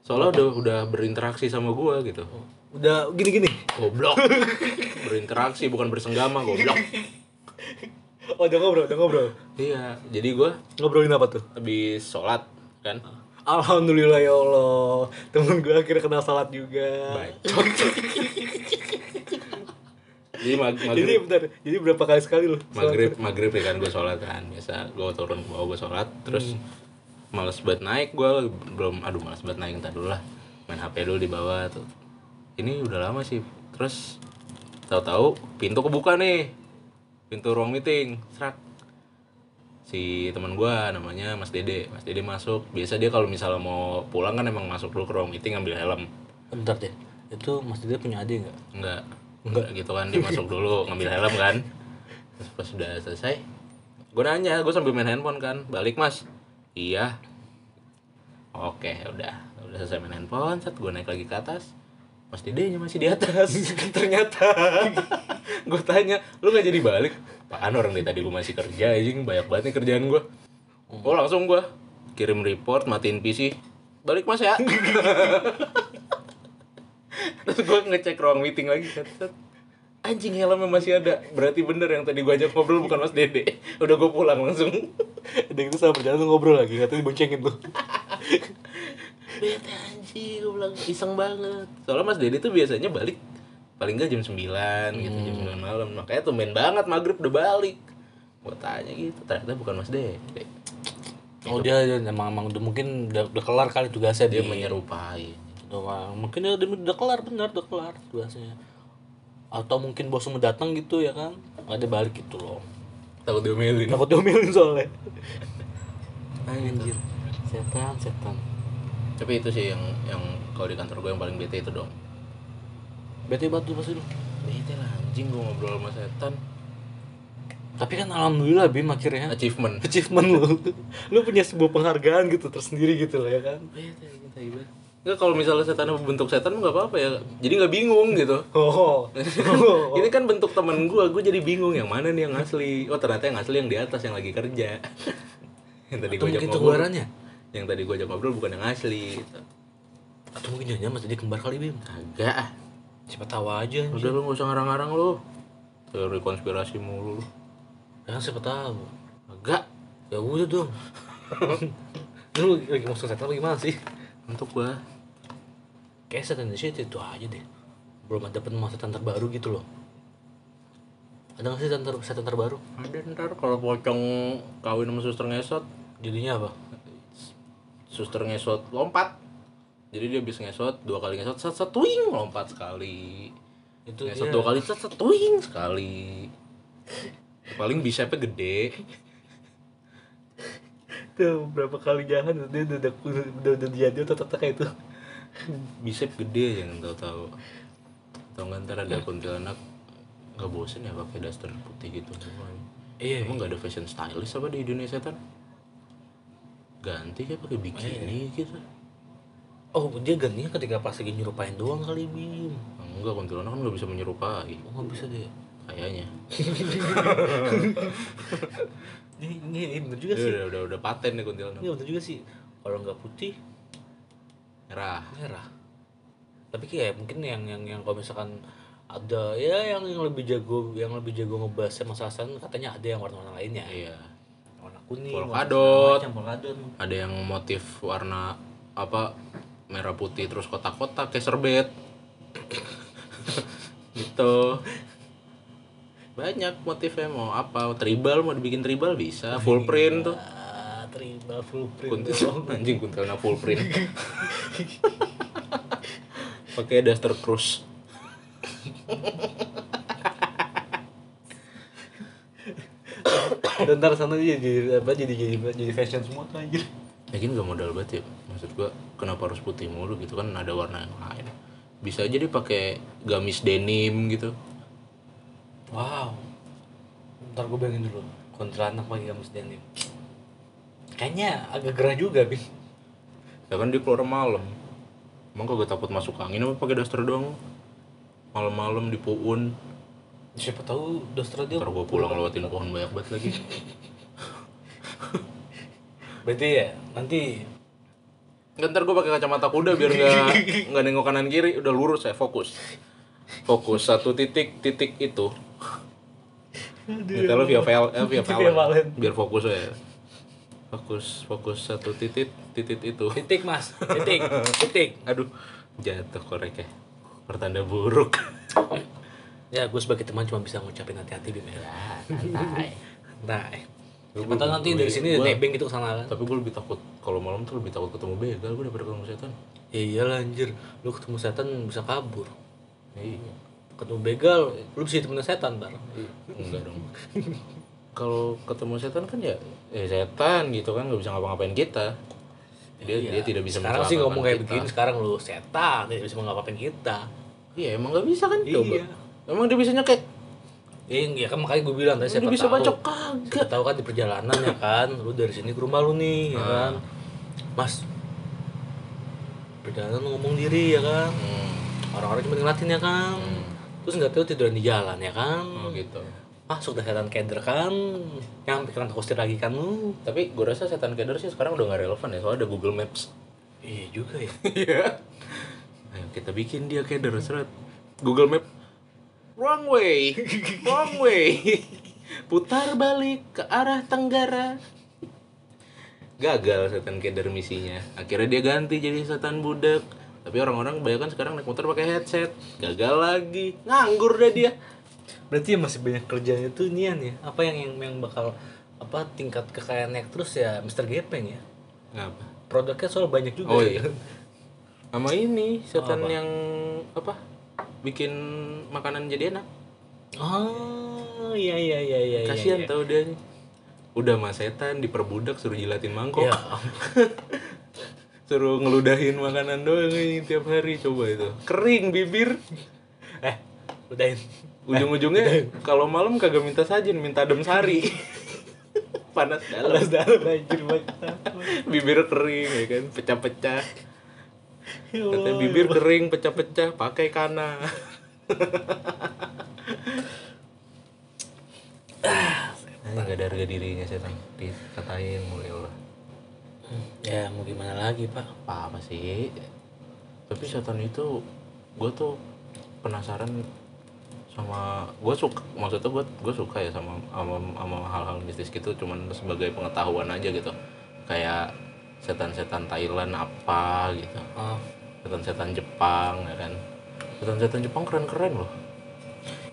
A: Soalnya udah udah berinteraksi sama gue gitu.
B: Udah gini-gini.
A: Goblok. berinteraksi bukan bersenggama, goblok.
B: Oh, udah ngobrol, udah ngobrol.
A: Iya, jadi gue
B: Ngobrolin apa tuh?
A: habis sholat kan.
B: Alhamdulillah ya Allah. Temen gue akhirnya kena salat juga.
A: Bacot. jadi mag
B: Jadi
A: maghrib,
B: bentar, jadi berapa kali sekali lu?
A: maghrib, maghrib ya kan gue sholat kan. Biasa gue turun ke bawah gue sholat. Terus males banget naik gue belum aduh males banget naik entar dulu lah main HP dulu di bawah tuh ini udah lama sih terus tahu-tahu pintu kebuka nih pintu ruang meeting serak si teman gue namanya Mas Dede Mas Dede masuk biasa dia kalau misalnya mau pulang kan emang masuk dulu ke ruang meeting ambil helm
B: Bentar deh. itu Mas Dede punya adik nggak
A: Enggak. Enggak gitu kan dia masuk dulu ngambil helm kan. Terus pas sudah selesai, gue nanya, gue sambil main handphone kan, balik mas. Iya. Oke, udah, udah selesai main handphone, set gue naik lagi ke atas. Mas Dede masih di atas. Ternyata gue tanya, lu gak jadi balik? Apaan orang dari tadi gue masih kerja, anjing banyak banget nih kerjaan gue. Oh langsung gue kirim report, matiin PC, balik mas ya. Terus gue ngecek ruang meeting lagi set, set. Anjing helmnya masih ada Berarti bener yang tadi gue ajak ngobrol bukan mas Dede Udah gue pulang langsung
B: Adik itu sama berjalan tuh ngobrol lagi katanya diboncengin tuh
A: Bete anjing gue bilang iseng banget Soalnya mas Dede tuh biasanya balik Paling gak jam 9 gitu Jam 9 malam Makanya tuh main banget maghrib udah balik Gue tanya gitu Ternyata bukan mas Dede
B: Oh dia dia emang, emang udah mungkin udah, udah kelar kali tugasnya
A: Dia
B: dia
A: menyerupai
B: doang. Mungkin dia udah, udah kelar bener udah kelar tugasnya. Atau mungkin bos mau datang gitu ya kan? Nggak ada balik gitu loh.
A: Takut diomelin
B: Takut diomelin soalnya. Anjir. Setan, setan.
A: Tapi itu sih yang yang kalau di kantor gue yang paling bete itu dong
B: Bete batu pasti lu.
A: Bete lah anjing gue ngobrol sama setan
B: Tapi kan alhamdulillah Bim akhirnya
A: Achievement
B: achievement lu. lu punya sebuah penghargaan gitu tersendiri gitu loh ya kan?
A: gitu, Enggak kalau misalnya setan bentuk setan nggak apa-apa ya. Jadi nggak bingung gitu.
B: Oh. oh.
A: Ini kan bentuk temen gua, gua jadi bingung yang mana nih yang asli. Oh ternyata yang asli yang di atas yang lagi kerja. yang tadi
B: Atau
A: gua ajak
B: mungkin
A: ngobrol.
B: keluarannya?
A: Yang tadi gua ajak ngobrol bukan yang asli. Gitu.
B: Atau mungkin jangan Mas Dede kembar kali Bim.
A: Kagak. ah.
B: Siapa tahu aja.
A: Udah lu nggak usah ngarang-ngarang lu. Teori konspirasi mulu lu.
B: Ya kan siapa tahu.
A: Kagak.
B: Ya udah dong. lu lagi masuk setan apa gimana sih?
A: Untuk gua.
B: Kayak setan di situ itu aja deh. Belum ada penemuan setan terbaru gitu loh. Ada nggak sih setan, ter setan terbaru?
A: Ada ntar kalau pocong kawin sama suster ngesot,
B: Jadinya apa?
A: suster ngesot lompat jadi dia habis ngesot dua kali ngesot set set twing lompat sekali
B: Itu
A: ngesot
B: dia.
A: dua kali set set twing sekali paling bisepnya gede
B: Tuh, berapa kali jalan dia udah udah udah, udah, udah jadi otot-otot kayak itu.
A: bisep gede jangan tahu tahu tau nggak ntar ada kuntilanak nggak bosen ya pakai daster putih gitu
B: Iya.
A: emang nggak ada fashion stylist apa di Indonesia tan ganti kayak pakai bikini gitu
B: Oh, dia gantinya ketika pas lagi nyerupain doang kali, Bim.
A: enggak kuntilanak kan nggak bisa menyerupai
B: Oh, nggak bisa deh.
A: kayaknya
B: Ini, ini, ini bener juga
A: udah
B: sih.
A: udah udah, udah paten nih kuntilanak
B: Ini bener juga sih. Kalau nggak putih,
A: merah
B: merah tapi kayak mungkin yang yang yang kalau misalkan ada ya yang, yang lebih jago yang lebih jago ngebahasnya masalah setan katanya ada yang warna-warna lainnya
A: iya
B: warna kuning
A: Polkadot.
B: warna segala macam, polkadot
A: ada yang motif warna apa merah putih terus kotak-kotak kayak serbet gitu banyak motifnya mau apa tribal mau dibikin tribal bisa full print tuh
B: Ah, Ya, terima full print
A: kuntil anjing kuntilnya full print pakai daster cross
B: dan ntar sana jadi jadi apa jadi jadi jadi fashion semua tuh anjir
A: Lagian gak modal banget ya maksud gua kenapa harus putih mulu gitu kan ada warna yang lain bisa aja dipakai gamis denim gitu
B: wow ntar gue bayangin dulu kontranak pagi kamu denim kayaknya agak gerah juga bin
A: Ya kan dia keluar malam. Emang kagak takut masuk angin apa pakai daster doang? Malam-malam di puun,
B: siapa tahu doster dia
A: ntar gua pulang lewatin pohon banyak banget lagi.
B: berarti ya nanti
A: Nggak, ntar gua pakai kacamata kuda biar nggak nggak nengok kanan kiri, udah lurus ya fokus. Fokus satu titik titik itu. Kita lo via VL, eh, via
B: Via
A: VLAN.
B: VLAN.
A: biar fokus ya. Fokus fokus satu titik titik itu.
B: titik mas titik titik
A: Aduh, jatuh korek ya. Pertanda buruk.
B: ya gue sebagai teman cuma bisa ngucapin hati-hati bim ya nah siapa
A: Gua-
B: tahu nanti dari sini
A: gua-
B: nebeng gitu kesana kan
A: tapi gue lebih takut kalau malam tuh lebih takut ketemu begal gue daripada ketemu setan
B: ya iyalah anjir lu ketemu setan bisa kabur
A: iya
B: ketemu begal lu bisa temen setan bar
A: enggak dong kalau ketemu setan kan ya eh setan gitu kan nggak bisa ngapa-ngapain kita dia
B: Iya.
A: dia tidak bisa
B: sekarang sih
A: mencelakakan
B: ngomong kayak
A: kita.
B: begini sekarang lu setan tidak bisa ngapain kita
A: Iya emang gak bisa kan
B: Iya.
A: coba. Emang dia bisa nyekek.
B: Eh, ya kan makanya gue bilang tadi
A: Dia
B: siapa
A: bisa
B: tahu.
A: bacok kagak.
B: Siapa tahu kan di perjalanan ya kan, lu dari sini ke rumah lu nih ya
A: Ah.
B: kan. Mas. Perjalanan lu ngomong diri ya kan.
A: Hmm,
B: Orang-orang cuma ngeliatin ya kan. Terus nggak tahu tiduran di jalan ya kan.
A: Oh gitu.
B: Masuk dah setan keder kan. Yang pikiran hostir lagi kan lu.
A: Tapi gue rasa setan keder sih sekarang udah gak relevan ya soalnya ada Google Maps.
B: Iya juga ya.
A: Iya. Ayo kita bikin dia keder seret. Google Map wrong way. Wrong way. Putar balik ke arah Tenggara. Gagal setan keder misinya. Akhirnya dia ganti jadi setan budak. Tapi orang-orang kebanyakan sekarang naik motor pakai headset. Gagal lagi. Nganggur dah dia.
B: Berarti ya masih banyak kerjaan itu nian ya. Apa yang yang, yang bakal apa tingkat kekayaan naik terus ya Mr. Gepeng ya.
A: Ngapa?
B: Produknya soal banyak juga.
A: Oh,
B: ya.
A: iya. Sama ini setan
B: Apa?
A: yang apa? Bikin makanan jadi enak.
B: Oh, iya iya iya iya. iya,
A: Kasihan
B: iya.
A: tau dia nih. Udah mah setan diperbudak suruh jilatin mangkok.
B: Ya,
A: suruh ngeludahin makanan doang ini tiap hari coba itu. Kering bibir.
B: eh, udahin.
A: Ujung-ujungnya kalau malam kagak minta sajen, minta adem sari. Panas dalam.
B: Terus dalam anjir banget.
A: Bibir kering ya kan, pecah-pecah. Katanya bibir kering pecah-pecah, pakai kana. Ah, Enggak ada harga dirinya setan. Dikatain mulu lah.
B: Ya, mau gimana lagi, Pak?
A: apa Iya, sih tapi setan itu gue tuh penasaran sama gue suka maksudnya gue gue suka ya sama sama, sama hal-hal mistis gitu cuman sebagai pengetahuan aja gitu kayak setan-setan Thailand apa gitu
B: Oh,
A: setan-setan Jepang ya kan setan-setan Jepang keren-keren loh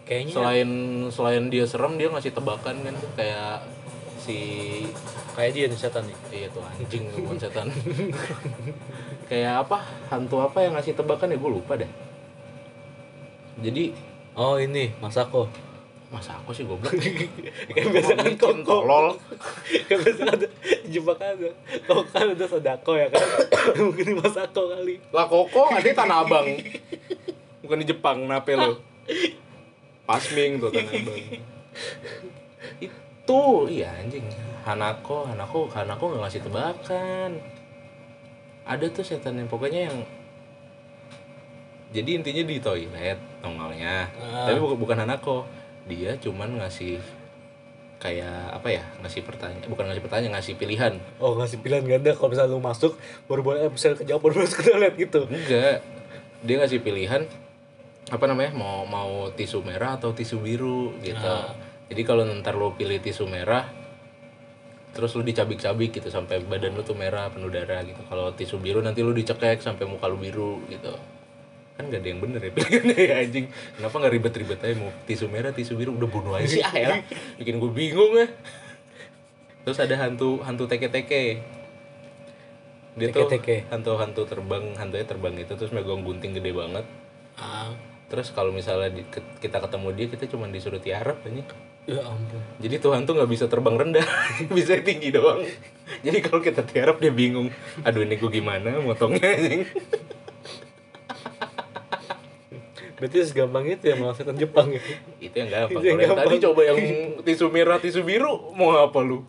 B: kayaknya
A: selain selain dia serem dia ngasih tebakan kan kayak si
B: kayak dia nih setan nih.
A: Iya tuh anjing tuh, bukan setan. Kayak apa? Hantu apa yang ngasih tebakan ya gue lupa deh. Jadi
B: Oh, ini Masako.
A: masa aku sih goblok. Kayak
B: biasa kan kok-
A: tolol.
B: Kan biasa ada jebakan ada. Kok kan ada Sadako ya kan? Mungkin Masako kali.
A: Lah koko ada tanah abang. Bukan di Jepang, nape lo? Pasming tuh tanah abang. Itu iya anjing. Hanako, Hanako, Hanako nggak ngasih tebakan. Ada tuh setan yang pokoknya yang jadi intinya di toilet nongolnya.
B: Ah.
A: Tapi bukan bukan Hanako. Dia cuman ngasih kayak apa ya ngasih pertanyaan bukan ngasih pertanyaan ngasih pilihan
B: Oh, ngasih pilihan ganda kalau misalnya lu masuk baru boleh eh, bisa kejawab baru masuk ke toilet gitu.
A: enggak dia ngasih pilihan apa namanya mau mau tisu merah atau tisu biru gitu
B: Ah.
A: jadi kalau ntar lo pilih tisu merah terus lu dicabik-cabik gitu sampai badan lu tuh merah penuh darah gitu kalau tisu biru nanti lu dicekek sampai muka lu biru gitu kan gak ada yang bener ya pilihannya ya anjing kenapa nggak ribet-ribet aja mau tisu merah tisu biru udah bunuh aja
B: Iya,
A: sih ah ya bikin gue bingung ya terus ada hantu hantu teke-teke dia
B: Teke-teke.
A: tuh hantu-hantu terbang hantunya terbang itu terus megang gunting gede banget
B: Ah,
A: terus kalau misalnya di- ke- kita ketemu dia kita cuma disuruh tiarap aja
B: ya ampun.
A: jadi Tuhan tuh nggak bisa terbang rendah bisa tinggi doang jadi kalau kita tiarap dia bingung aduh ini gue gimana motongnya anjing.
B: Berarti segampang itu ya malah setan Jepang ya.
A: itu yang gampang
B: Itu
A: Kalau
B: yang
A: yang tadi
B: gampang.
A: coba yang tisu merah tisu biru mau apa lu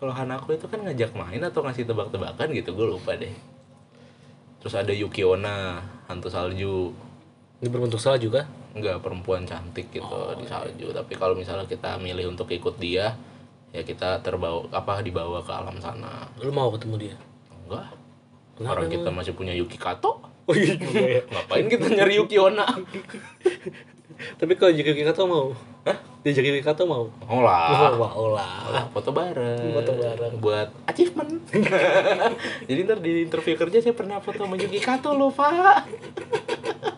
A: kalau Hanako itu kan ngajak main atau ngasih tebak-tebakan gitu gue lupa deh terus ada Yukiona hantu salju
B: Ini berbentuk salah juga.
A: nggak perempuan cantik gitu
B: Oh,
A: di
B: iya.
A: salju tapi kalau misalnya kita milih untuk ikut dia ya kita terbawa apa dibawa ke alam sana
B: Lu mau ketemu dia?
A: enggak
B: Kenapa
A: orang kita masih punya Yuki Kato
B: Oh iya juga ya.
A: ngapain kita nyari Yukiona
B: Tapi kalau Jackie Kikato mau? Hah? Ah, Dia Jackie Kikato mau?
A: olah
B: Wah, olah.
A: Olah, Ah, foto bareng
B: Foto bareng.
A: buat achievement jadi ntar di interview kerja saya pernah foto sama Yuki Kato loh pak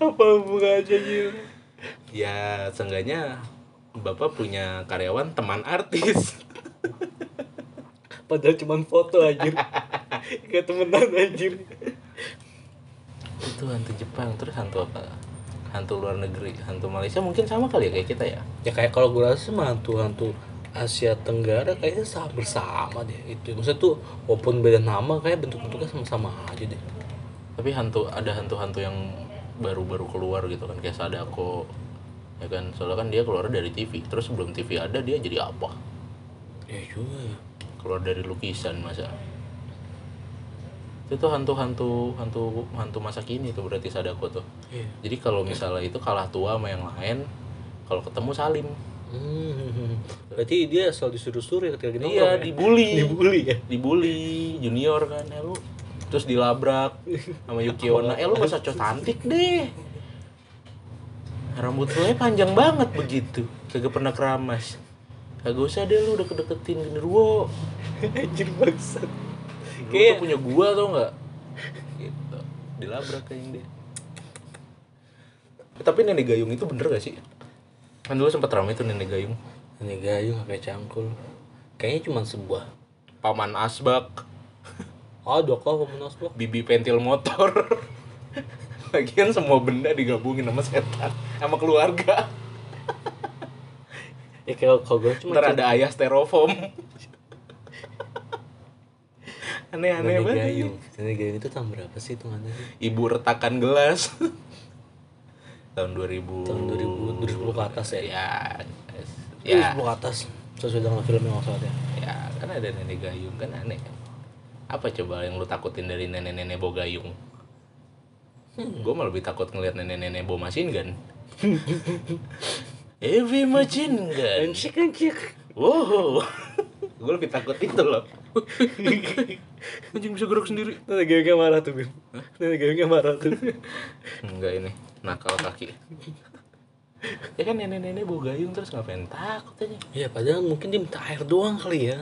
B: Apa hubungannya gitu?
A: ya seenggaknya bapak punya karyawan teman artis
B: Padahal cuma foto anjir. Kayak temenan anjir.
A: itu hantu Jepang terus hantu apa hantu luar negeri hantu Malaysia mungkin sama kali ya kayak kita ya
B: Ya kayak kalau gue rasa mah hantu-hantu Asia Tenggara kayaknya sama bersama deh itu. Maksudnya tuh walaupun beda nama kayak bentuk-bentuknya sama-sama aja deh.
A: tapi hantu ada hantu-hantu yang baru-baru keluar gitu kan kayak Sadako ya kan soalnya kan dia keluar dari TV terus sebelum TV ada dia jadi apa
B: ya juga ya
A: keluar dari lukisan masa itu tuh hantu-hantu hantu hantu masa kini tuh berarti Sadako tuh
B: Iya.
A: jadi kalau misalnya itu kalah tua sama yang lain kalau ketemu salim
B: Hmm. Berarti dia selalu disuruh-suruh ya ketika gini.
A: iya dibully
B: Dibully ya.
A: dibully junior kan ya lu terus dilabrak sama Yuki Onna eh lu masa cowok cantik deh rambut lu aja panjang banget begitu kagak pernah keramas kagak usah deh lu udah kedeketin genderuwo
B: Anjir
A: lu
B: bangsat.
A: tuh
B: Kayak
A: punya gua tau nggak Iya. gitu dilabrak kayaknya dia Eh, tapi nenek gayung itu bener gak sih kan dulu sempat ramai tuh nenek gayung
B: ini gayung pakai cangkul. Kayaknya cuma sebuah.
A: paman asbak
B: Ada kok pemenas gua.
A: bibi pentil motor lagian semua benda digabungin sama setan sama keluarga
B: Ya kalau kalau gua cuma
A: ntar ada ayah styrofoam aneh-aneh
B: Nenek
A: banget
B: gayung. Nenek gayung itu tahun berapa sih hitungannya sih?
A: ibu retakan gelas tahun 2000
B: Tahun 2000, 2010 ke atas ya?
A: ya
B: Ya.
A: ya,
B: ke atas. Sesuai dengan film yang waktu ada.
A: ya kan ada nenek gayung kan aneh kan apa coba yang lu takutin dari nenek-nenek bawa gayung
B: Hmm.
A: gue malah lebih takut ngeliat nenek-nenek bawa machine gun heavy machine gun
B: Encik encik.
A: wow gue lebih takut itu loh anjing bisa gerak sendiri
B: Nenek gayungnya marah tuh Bim. Nenek gayungnya marah tuh.
A: enggak ini nakal kaki ya kan nenek-nenek bawa gayung terus ngapain takut aja
B: Iya padahal mungkin dia minta air doang kali ya.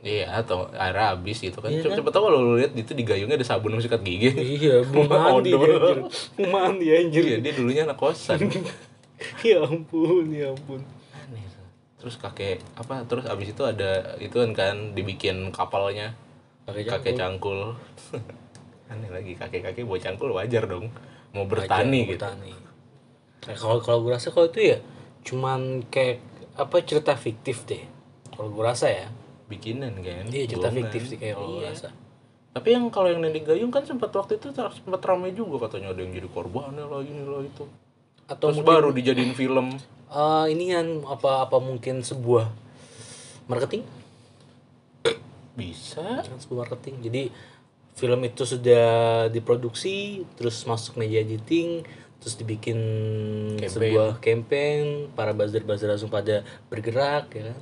A: Iya, atau airnya habis gitu kan.
B: Iya
A: Coba
B: kan?
A: Cepet tau kalau lu lihat itu di gayungnya ada sabun sama sikat gigi.
B: Iya, mau mandi dia
A: Odol.
B: anjir. Mau mandi anjir.
A: Iya, dia dulunya anak kosan.
B: Ya ampun, ya ampun.
A: Aneh. Terus kakek apa? Terus abis itu ada itu kan kan dibikin kapalnya
B: Pakai
A: kakek cangkul. Aneh lagi kakek-kakek bawa cangkul wajar dong. Mau bertani gitu.
B: Bertani. Nah, kalau kalau gue rasa kalau itu ya cuman kayak apa cerita fiktif deh. Kalau gue rasa ya.
A: Bikinan kan.
B: Iya, cerita
A: bohongan.
B: fiktif sih kayak kalau gue
A: Iya.
B: rasa.
A: Tapi yang kalau yang nenek gayung kan sempat waktu itu ter- sempat ramai juga katanya ada yang jadi korbannya lah ini lah itu.
B: Atau
A: Terus baru dijadiin film.
B: eh, ini kan apa apa mungkin sebuah marketing?
A: Bisa.
B: Kan sebuah marketing. Jadi film itu sudah diproduksi, terus masuk media editing, terus dibikin sebuah campaign, para buzzer-buzzer langsung pada bergerak ya kan.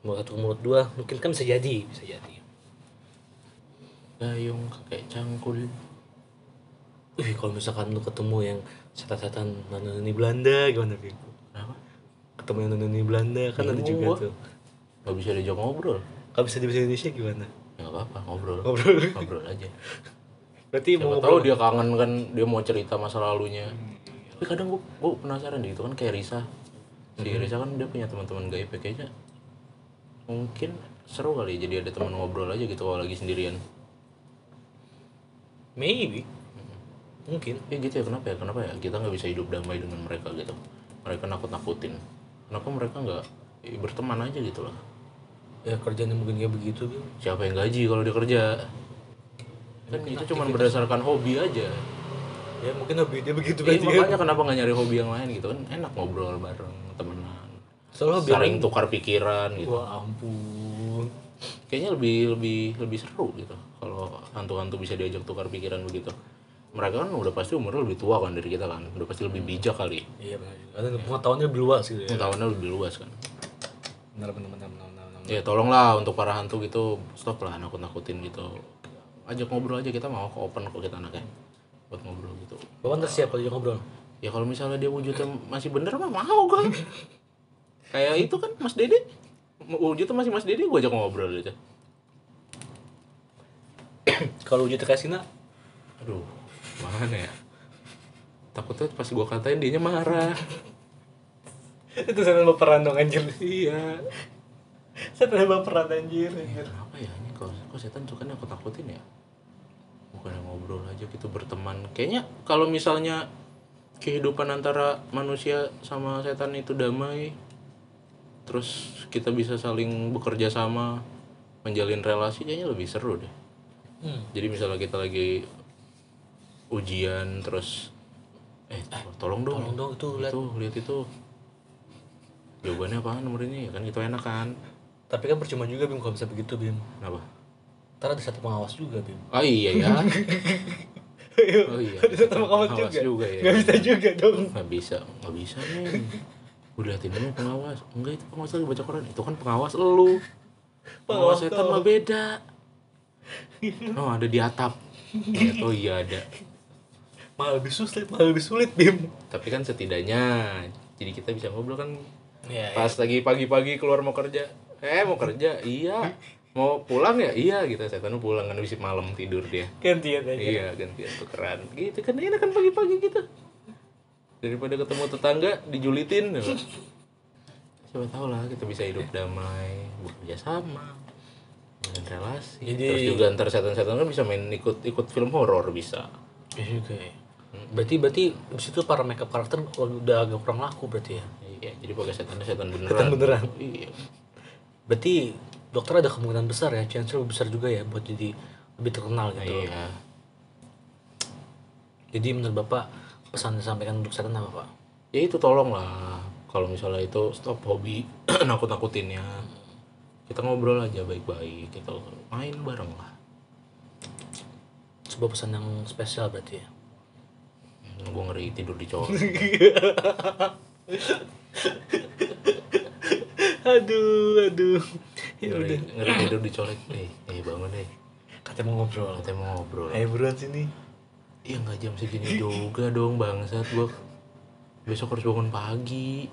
B: Mulut satu ke mulut dua, mungkin kan bisa jadi, bisa jadi.
A: Gayung kakek cangkul.
B: Wih, kalau misalkan lu ketemu yang setan-setan nononi Belanda gimana Bim?
A: Kenapa?
B: Ketemu yang nononi Belanda kan ada juga
A: Gua.
B: tuh.
A: Gak bisa diajak ngobrol.
B: Kalau bisa di bahasa Indonesia gimana?
A: Ya gak apa-apa, ngobrol.
B: Ngobrol.
A: Ngobrol aja.
B: Berarti mau
A: Siapa tahu dia kangen kan, dia mau cerita masa lalunya. Tapi kadang gue, penasaran deh, itu kan kayak Risa. Si Risa kan dia punya teman-teman gaib ya, kayaknya. Mungkin seru kali ya, jadi ada teman ngobrol aja gitu kalau lagi sendirian.
B: maybe. Mungkin.
A: Ya gitu ya, kenapa ya? Kenapa ya? Kita nggak bisa hidup damai dengan mereka gitu. Mereka nakut-nakutin. Kenapa mereka nggak eh, berteman aja gitu loh?
B: Ya kerjanya mungkin kayak begitu, Bim.
A: siapa yang gaji kalau dia kerja kan itu cuma berdasarkan hobi aja
B: Ya mungkin hobi dia begitu
A: Eh,
B: berarti kan.
A: makanya kenapa nggak nyari hobi yang lain gitu kan enak ngobrol bareng temenan
B: Soalnya hobi
A: sering tukar pikiran gitu
B: Oh, Wah, ampun.
A: kayaknya lebih lebih lebih seru gitu kalau hantu-hantu bisa diajak tukar pikiran begitu mereka kan udah pasti umurnya lebih tua kan dari kita kan udah pasti lebih bijak kali
B: Iya benar juga. Ada pengetahuannya lebih luas gitu ya.
A: tahunnya lebih luas kan
B: Benar benar benar benar benar. benar.
A: ya tolonglah untuk para hantu gitu stop lah nakut-nakutin gitu ajak ngobrol aja kita mau ke open kok kita anaknya buat ngobrol gitu
B: Bapak ntar siap kalau dia ngobrol.
A: Ya kalau misalnya dia wujudnya masih bener mah mau gue. Kayak itu kan Mas Dede. Wujudnya masih Mas Dede gue ajak ngobrol aja.
B: Kalau wujud kasina
A: Aduh, mana ya? Takutnya pas gue katain dianya marah.
B: itu setan baperan dong anjir.
A: iya.
B: Setan baperan anjir.
A: Ya, kenapa ya ini kok, kok setan suka aku takutin ya? Bukan ngobrol aja gitu berteman. Kayaknya kalau misalnya kehidupan antara manusia sama setan itu damai, terus kita bisa saling bekerja sama, menjalin relasi kayaknya lebih seru deh.
B: Hmm.
A: Jadi misalnya kita lagi ujian terus eh tolong dong
B: Tolong dong, itu lihat.
A: itu lihat itu jawabannya apaan nomor ini kan itu enak kan
B: Tapi kan percuma juga Bim kalau bisa begitu Bim.
A: kenapa
B: Ntar ada satu pengawas juga Bim.
A: oh iya ya Oh iya,
B: ada satu pengawas
A: pengawas juga
B: juga.
A: ya.
B: Nggak bisa juga dong.
A: nggak bisa nggak bisa nih gue liatin dulu pengawas enggak itu pengawas lagi baca koran itu kan pengawas elu pengawas
B: Pengawas
A: setan
B: tau.
A: mah beda oh ada di atap Lihat, oh iya ada
B: Malah lebih sulit, malah lebih sulit Bim.
A: tapi kan setidaknya jadi kita bisa ngobrol kan
B: Iya.
A: pas lagi pagi-pagi keluar mau kerja eh mau kerja iya mau pulang ya iya gitu setan mau pulang kan habis malam tidur dia
B: Gantian aja.
A: iya gantian tukeran gitu kan enak kan pagi-pagi gitu daripada ketemu tetangga dijulitin ya. siapa tahu lah kita bisa hidup damai bekerja sama dengan relasi
B: Jadi-
A: terus juga antar setan-setan kan bisa main ikut ikut film horor bisa
B: Iya juga ya. Berarti berarti di situ para makeup karakter udah agak kurang laku berarti ya.
A: iya jadi pakai setannya setan beneran
B: Setan beneran.
A: iya
B: Berarti dokter ada kemungkinan besar ya, chance lebih besar juga ya buat jadi lebih terkenal gitu.
A: iya
B: Jadi menurut Bapak pesan yang disampaikan untuk setan apa Pak?
A: ya itu tolong lah kalau misalnya itu stop hobi nakut-nakutinnya kita ngobrol aja baik-baik kita main bareng lah
B: Sebuah pesan yang spesial berarti ya.
A: gue ngeri tidur di cowok
B: aduh, aduh. Ya
A: ngeri,
B: udah,
A: ngeri tidur dicolek eh eh bangun eh
B: katanya mau ngobrol.
A: katanya mau ngobrol
B: Ayo buruan sini.
A: iya nggak jam segini juga dong bangsat gua besok harus bangun pagi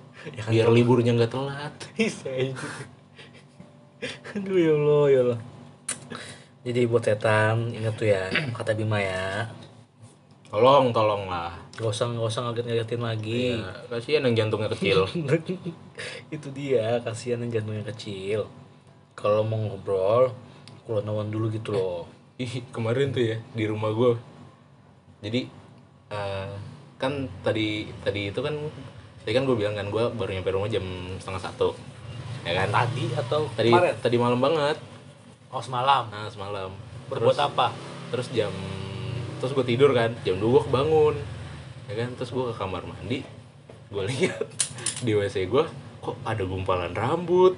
A: biar liburnya nggak telat
B: Bisa aja. Aduh ya Allah, ya Allah. Jadi buat setan ingat tuh ya kata Bima ya.
A: tolong tolong lah
B: Gak usah gak usah ngaget-ngagetin lagi.
A: ya, kasihan yang jantungnya kecil
B: itu dia kasihan yang jantungnya kecil kalau mau ngobrol keluar dulu gitu loh
A: Ih, kemarin tuh ya di rumah gua jadi eh, kan tadi tadi itu kan tadi kan gue bilang kan gua baru nyampe rumah jam setengah satu ya kan
B: tadi atau
A: tadi
B: kemarin
A: tadi malam banget
B: oh semalam
A: nah semalam
B: berbuat
A: Terus-
B: apa
A: terus jam terus gue tidur kan jam 2 gue kebangun ya kan terus gue ke kamar mandi gue lihat di wc gue kok ada gumpalan rambut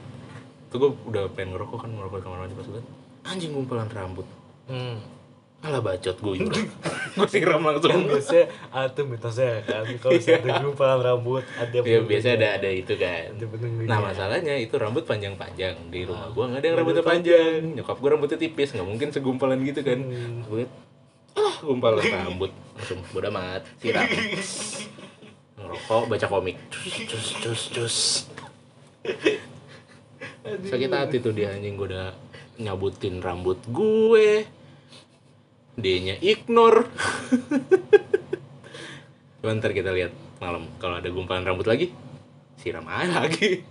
A: tuh gue udah pengen ngerokok kan ngerokok di kamar mandi pas gue liat, anjing gumpalan rambut
B: hmm.
A: alah bacot gue yur gue siram
B: kan
A: langsung
B: biasanya ada mitosnya kan kalau saya ada gumpalan rambut ada
A: ya biasanya ada ada itu kan
B: Iya, Ada penunggunya.
A: nah masalahnya itu rambut panjang-panjang di rumah gue nggak ada yang rambutnya panjang nyokap gue rambutnya tipis nggak mungkin segumpalan gitu kan gue liat, ah gumpalan rambut langsung bodo amat siram ngerokok baca komik cus cus cus cus sakit hati tuh dia anjing gue udah nyabutin rambut gue dianya ignore Cuma ntar kita lihat malam kalau ada gumpalan rambut lagi siram aja lagi.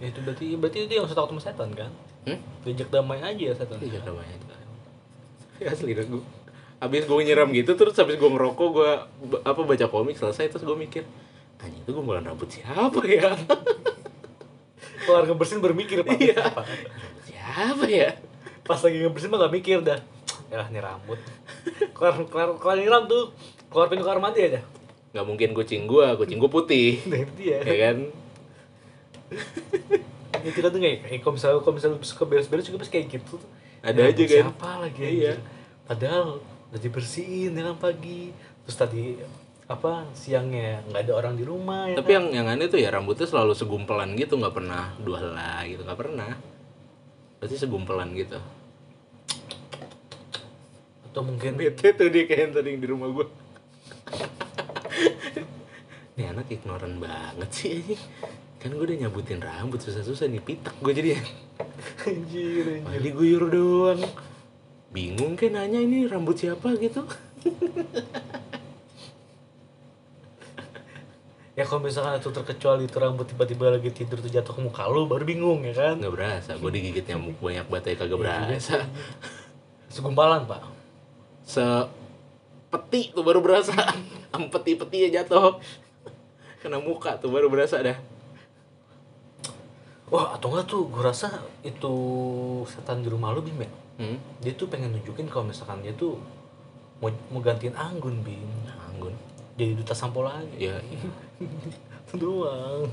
B: ya itu berarti berarti dia nggak usah takut sama setan kan
A: Hmm?
B: diajak damai aja ya setan
A: Iya namanya. Iya, Asli dah gue. Abis gue nyiram gitu terus habis gue ngerokok gue ba- apa baca komik selesai terus gue mikir anjing itu gumpalan rambut siapa ya?
B: kelar ngebersin bermikir pak Apa?
A: siapa ya?
B: pas lagi ngebersin mah gak mikir dah ya ini rambut kelar kelar kelar nyiram tuh keluar pintu kamar mandi aja
A: Gak mungkin kucing gue, kucing gue putih,
B: nah itu dia
A: ya kan?
B: ya kita tuh kayak kayak kalau misalnya kalau misalnya lu suka beres-beres juga pasti kayak gitu tuh.
A: Ada aja
B: rambut
A: kan?
B: siapa lagi
A: Iya.
B: iya. padahal udah dibersihin dengan pagi terus tadi apa siangnya nggak ada orang di rumah ya
A: Tapi yang yang aneh tuh ya rambutnya selalu segumpelan gitu, nggak pernah dua helai gitu, nggak pernah. Pasti segumpelan gitu.
B: kan? atau mungkin
A: bete tuh dia kayak yang tadi di rumah gue ini anak ignoran banget sih anjing. kan gue udah nyabutin rambut susah-susah nih pitak gue jadi
B: anjir anjir.
A: jadi guyur doang bingung kan nanya ini rambut siapa gitu
B: ya kalau misalkan itu terkecuali itu rambut tiba-tiba lagi tidur tuh jatuh ke muka lu baru bingung ya kan
A: nggak berasa gue digigit nyamuk banyak banget ya kagak berasa
B: segumpalan pak
A: se peti tuh baru berasa ampeti peti ya jatuh kena muka tuh baru berasa dah
B: wah Oh, atau enggak tuh gue rasa itu setan di rumah lu bim ya
A: hmm?
B: dia tuh pengen nunjukin kalau misalkan dia tuh mau, mau gantiin Anggun bim
A: anggun
B: jadi duta sampo lagi
A: ya iya.
B: itu doang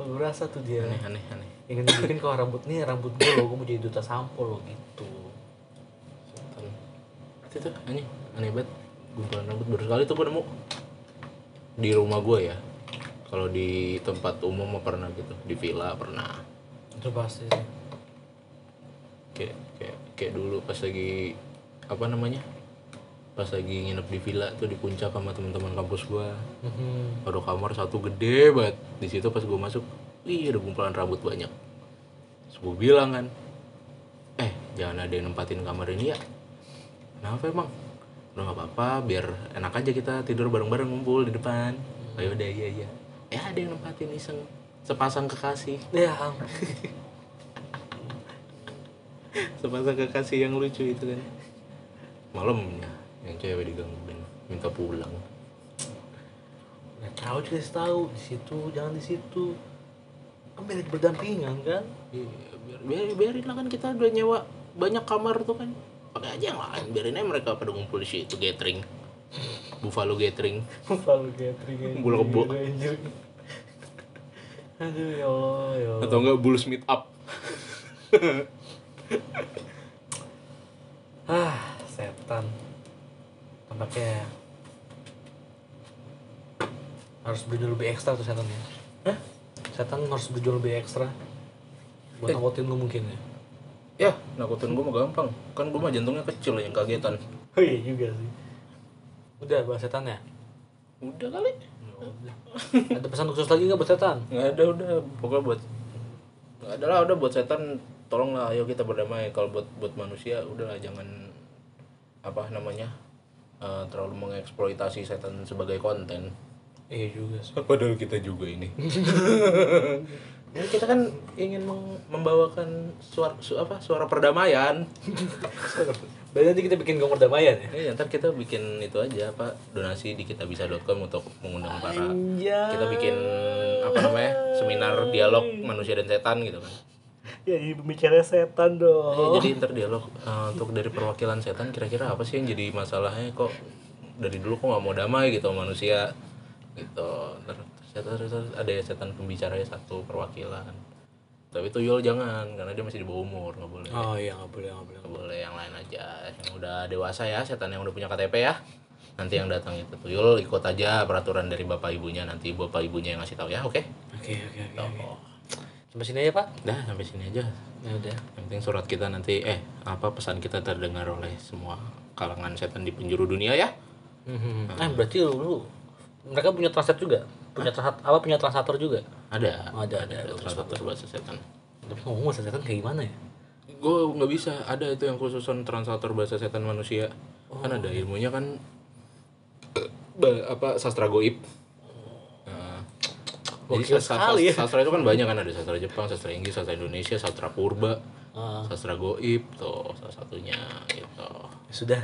B: Lu berasa tuh dia
A: aneh aneh aneh
B: ingin bikin kalau rambut nih rambut gue lo gue mau jadi duta sampo lo gitu
A: Setan. itu tuh aneh aneh banget gumpulan rambut baru sekali tuh gue nemu di rumah gue ya kalau di tempat umum mah pernah gitu di villa pernah
B: itu pasti sih.
A: kayak kayak kayak dulu pas lagi apa namanya pas lagi nginep di villa tuh di puncak sama teman-teman kampus gua
B: Mhm.
A: ada kamar satu gede banget di situ pas gua masuk wih ada kumpulan rambut banyak Terus gua bilang kan eh jangan ada yang nempatin kamar ini ya kenapa emang udah nggak apa-apa biar enak aja kita tidur bareng-bareng ngumpul di depan ayo deh iya iya ya ada yang nempatin iseng sepasang kekasih
B: ya ampun.
A: sepasang kekasih yang lucu itu kan malamnya yang cewek digangguin minta pulang
B: nggak tahu juga sih tahu di situ jangan di situ kan biar berdampingan kan
A: Iya, biar, biar- biarin lah kan kita udah nyewa banyak kamar tuh kan pakai aja yang lain biarin aja mereka pada ngumpul di situ gathering buffalo gathering
B: selalu gathering anjir,
A: Bulu kebo.
B: anjir. aduh ya allah ya allah
A: atau enggak bulls meet up
B: ah setan tampaknya harus berjuang lebih ekstra tuh setan ya Hah? setan harus berjuang lebih ekstra buat nakutin lu mungkin ya
A: ya nakutin gue mah gampang kan gue mah jantungnya kecil yang kagetan
B: oh iya juga sih udah bahas setan ya
A: udah kali
B: Oh. ada pesan khusus lagi nggak buat setan
A: nggak ada udah pokoknya buat nggak ada lah udah buat setan tolonglah ayo kita berdamai kalau buat buat manusia udahlah jangan apa namanya eh, terlalu mengeksploitasi setan sebagai konten
B: iya juga sih
A: Padahal kita juga ini. ya, kita kan ingin meng- membawakan suara su- apa suara perdamaian.
B: Berarti nanti kita bikin gong perdamaian
A: Ya,
B: ya?
A: ntar kita bikin itu aja apa donasi di kitabisa.com untuk mengundang para
B: Anjay.
A: kita bikin apa namanya seminar dialog manusia dan setan gitu kan.
B: Ya jadi pembicara setan
A: Ya,
B: dong.
A: jadi ntar dialog eh, untuk dari perwakilan setan kira-kira apa sih yang jadi masalahnya kok dari dulu kok nggak mau damai gitu sama manusia gitu ntar setan setan ada ya setan pembicaranya satu perwakilan tapi tuyul jangan karena dia masih di bawah umur nggak boleh
B: Oh iya nggak boleh nggak boleh.
A: nggak boleh yang lain aja yang udah dewasa ya setan yang udah punya KTP ya nanti yang datang itu tuyul ikut aja peraturan dari bapak ibunya nanti bapak ibunya yang ngasih tahu ya oke
B: Oke oke oke. oke.
A: Oh.
B: Sampai sini aja pak.
A: dah sampai sini aja
B: Ya udah.
A: Yang penting surat kita nanti eh apa pesan kita terdengar oleh semua kalangan setan di penjuru dunia ya.
B: Ah berarti lu, lu mereka punya translator juga? Punya translator apa punya translator juga?
A: Ada.
B: Ada, Oh, ada, ada,
A: translator bahasa setan.
B: Tapi ngomong bahasa setan kayak gimana ya?
A: Gue nggak bisa. Ada itu yang khususan translator bahasa setan manusia.
B: Oh.
A: Kan ada ilmunya kan eh, ba- apa sastra goib. Nah,
B: Gokil sekali ya.
A: sastra itu kan banyak kan ada sastra Jepang, sastra Inggris, sastra Indonesia, sastra purba,
B: Ah.
A: sastra goib tuh salah satunya gitu.
B: Ya sudah.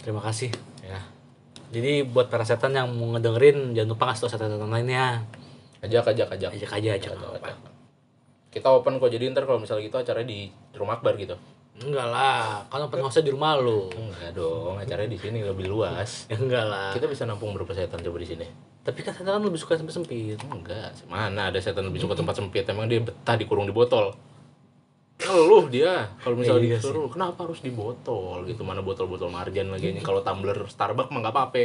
B: Terima kasih.
A: Ya.
B: Jadi buat para setan yang mau ngedengerin jangan lupa kasih tau setan-setan lainnya.
A: Ajak ajak ajak.
B: Ajak aja ajak. nggak apa-apa.
A: kita open kok jadi ntar kalau misalnya gitu acaranya di rumah akbar gitu
B: Enggak lah, kan open house di rumah lu.
A: enggak dong acaranya di sini lebih luas
B: Ya enggak lah.
A: kita bisa nampung berapa setan coba di sini
B: Tapi kan setan kan lebih suka sempit-sempit.
A: enggak mana ada setan lebih suka tempat sempit emang dia betah dikurung di botol Ngeluh dia kalau misalnya
B: Iya
A: disuruh kenapa harus di botol gitu mana botol-botol marjan lagi ini kalau tumbler Starbucks mah nggak apa-apa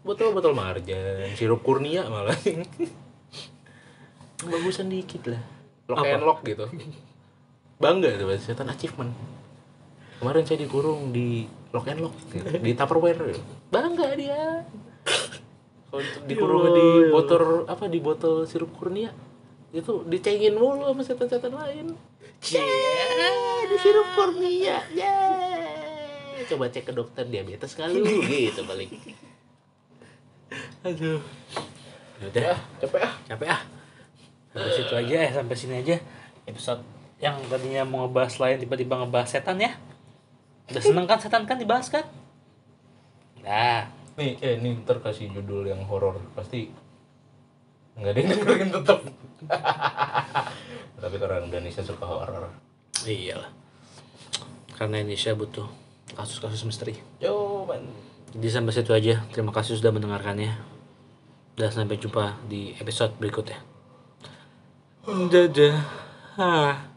A: botol-botol marjan sirup kurnia malah bagusan dikit lah lock and lock gitu bangga tuh pasti setan achievement kemarin saya dikurung di lock and lock gitu, di tupperware gitu. bangga dia kalau dikurung di botol apa di botol sirup kurnia itu dicengin mulu sama setan-setan lain yeah, di sirup kurnia yeah. coba cek ke dokter diabetes kali lu gitu balik
B: Aduh. Ya udah,
A: capek ah
B: capek ah. Sampai situ aja, eh, sampai sini aja. Episode yang tadinya mau ngebahas lain tiba-tiba ngebahas setan ya. Udah seneng kan setan kan dibahas kan? Nah,
A: nih eh nih ntar kasih judul yang horor pasti nggak ada yang dengerin tetep tapi orang Indonesia suka horor
B: Iya iyalah. Karena Indonesia butuh kasus-kasus misteri.
A: cuman
B: Jadi sampai situ aja. Terima kasih sudah ya. mendengarkannya. Dan sampai jumpa di episode berikutnya. Dadah. Ah.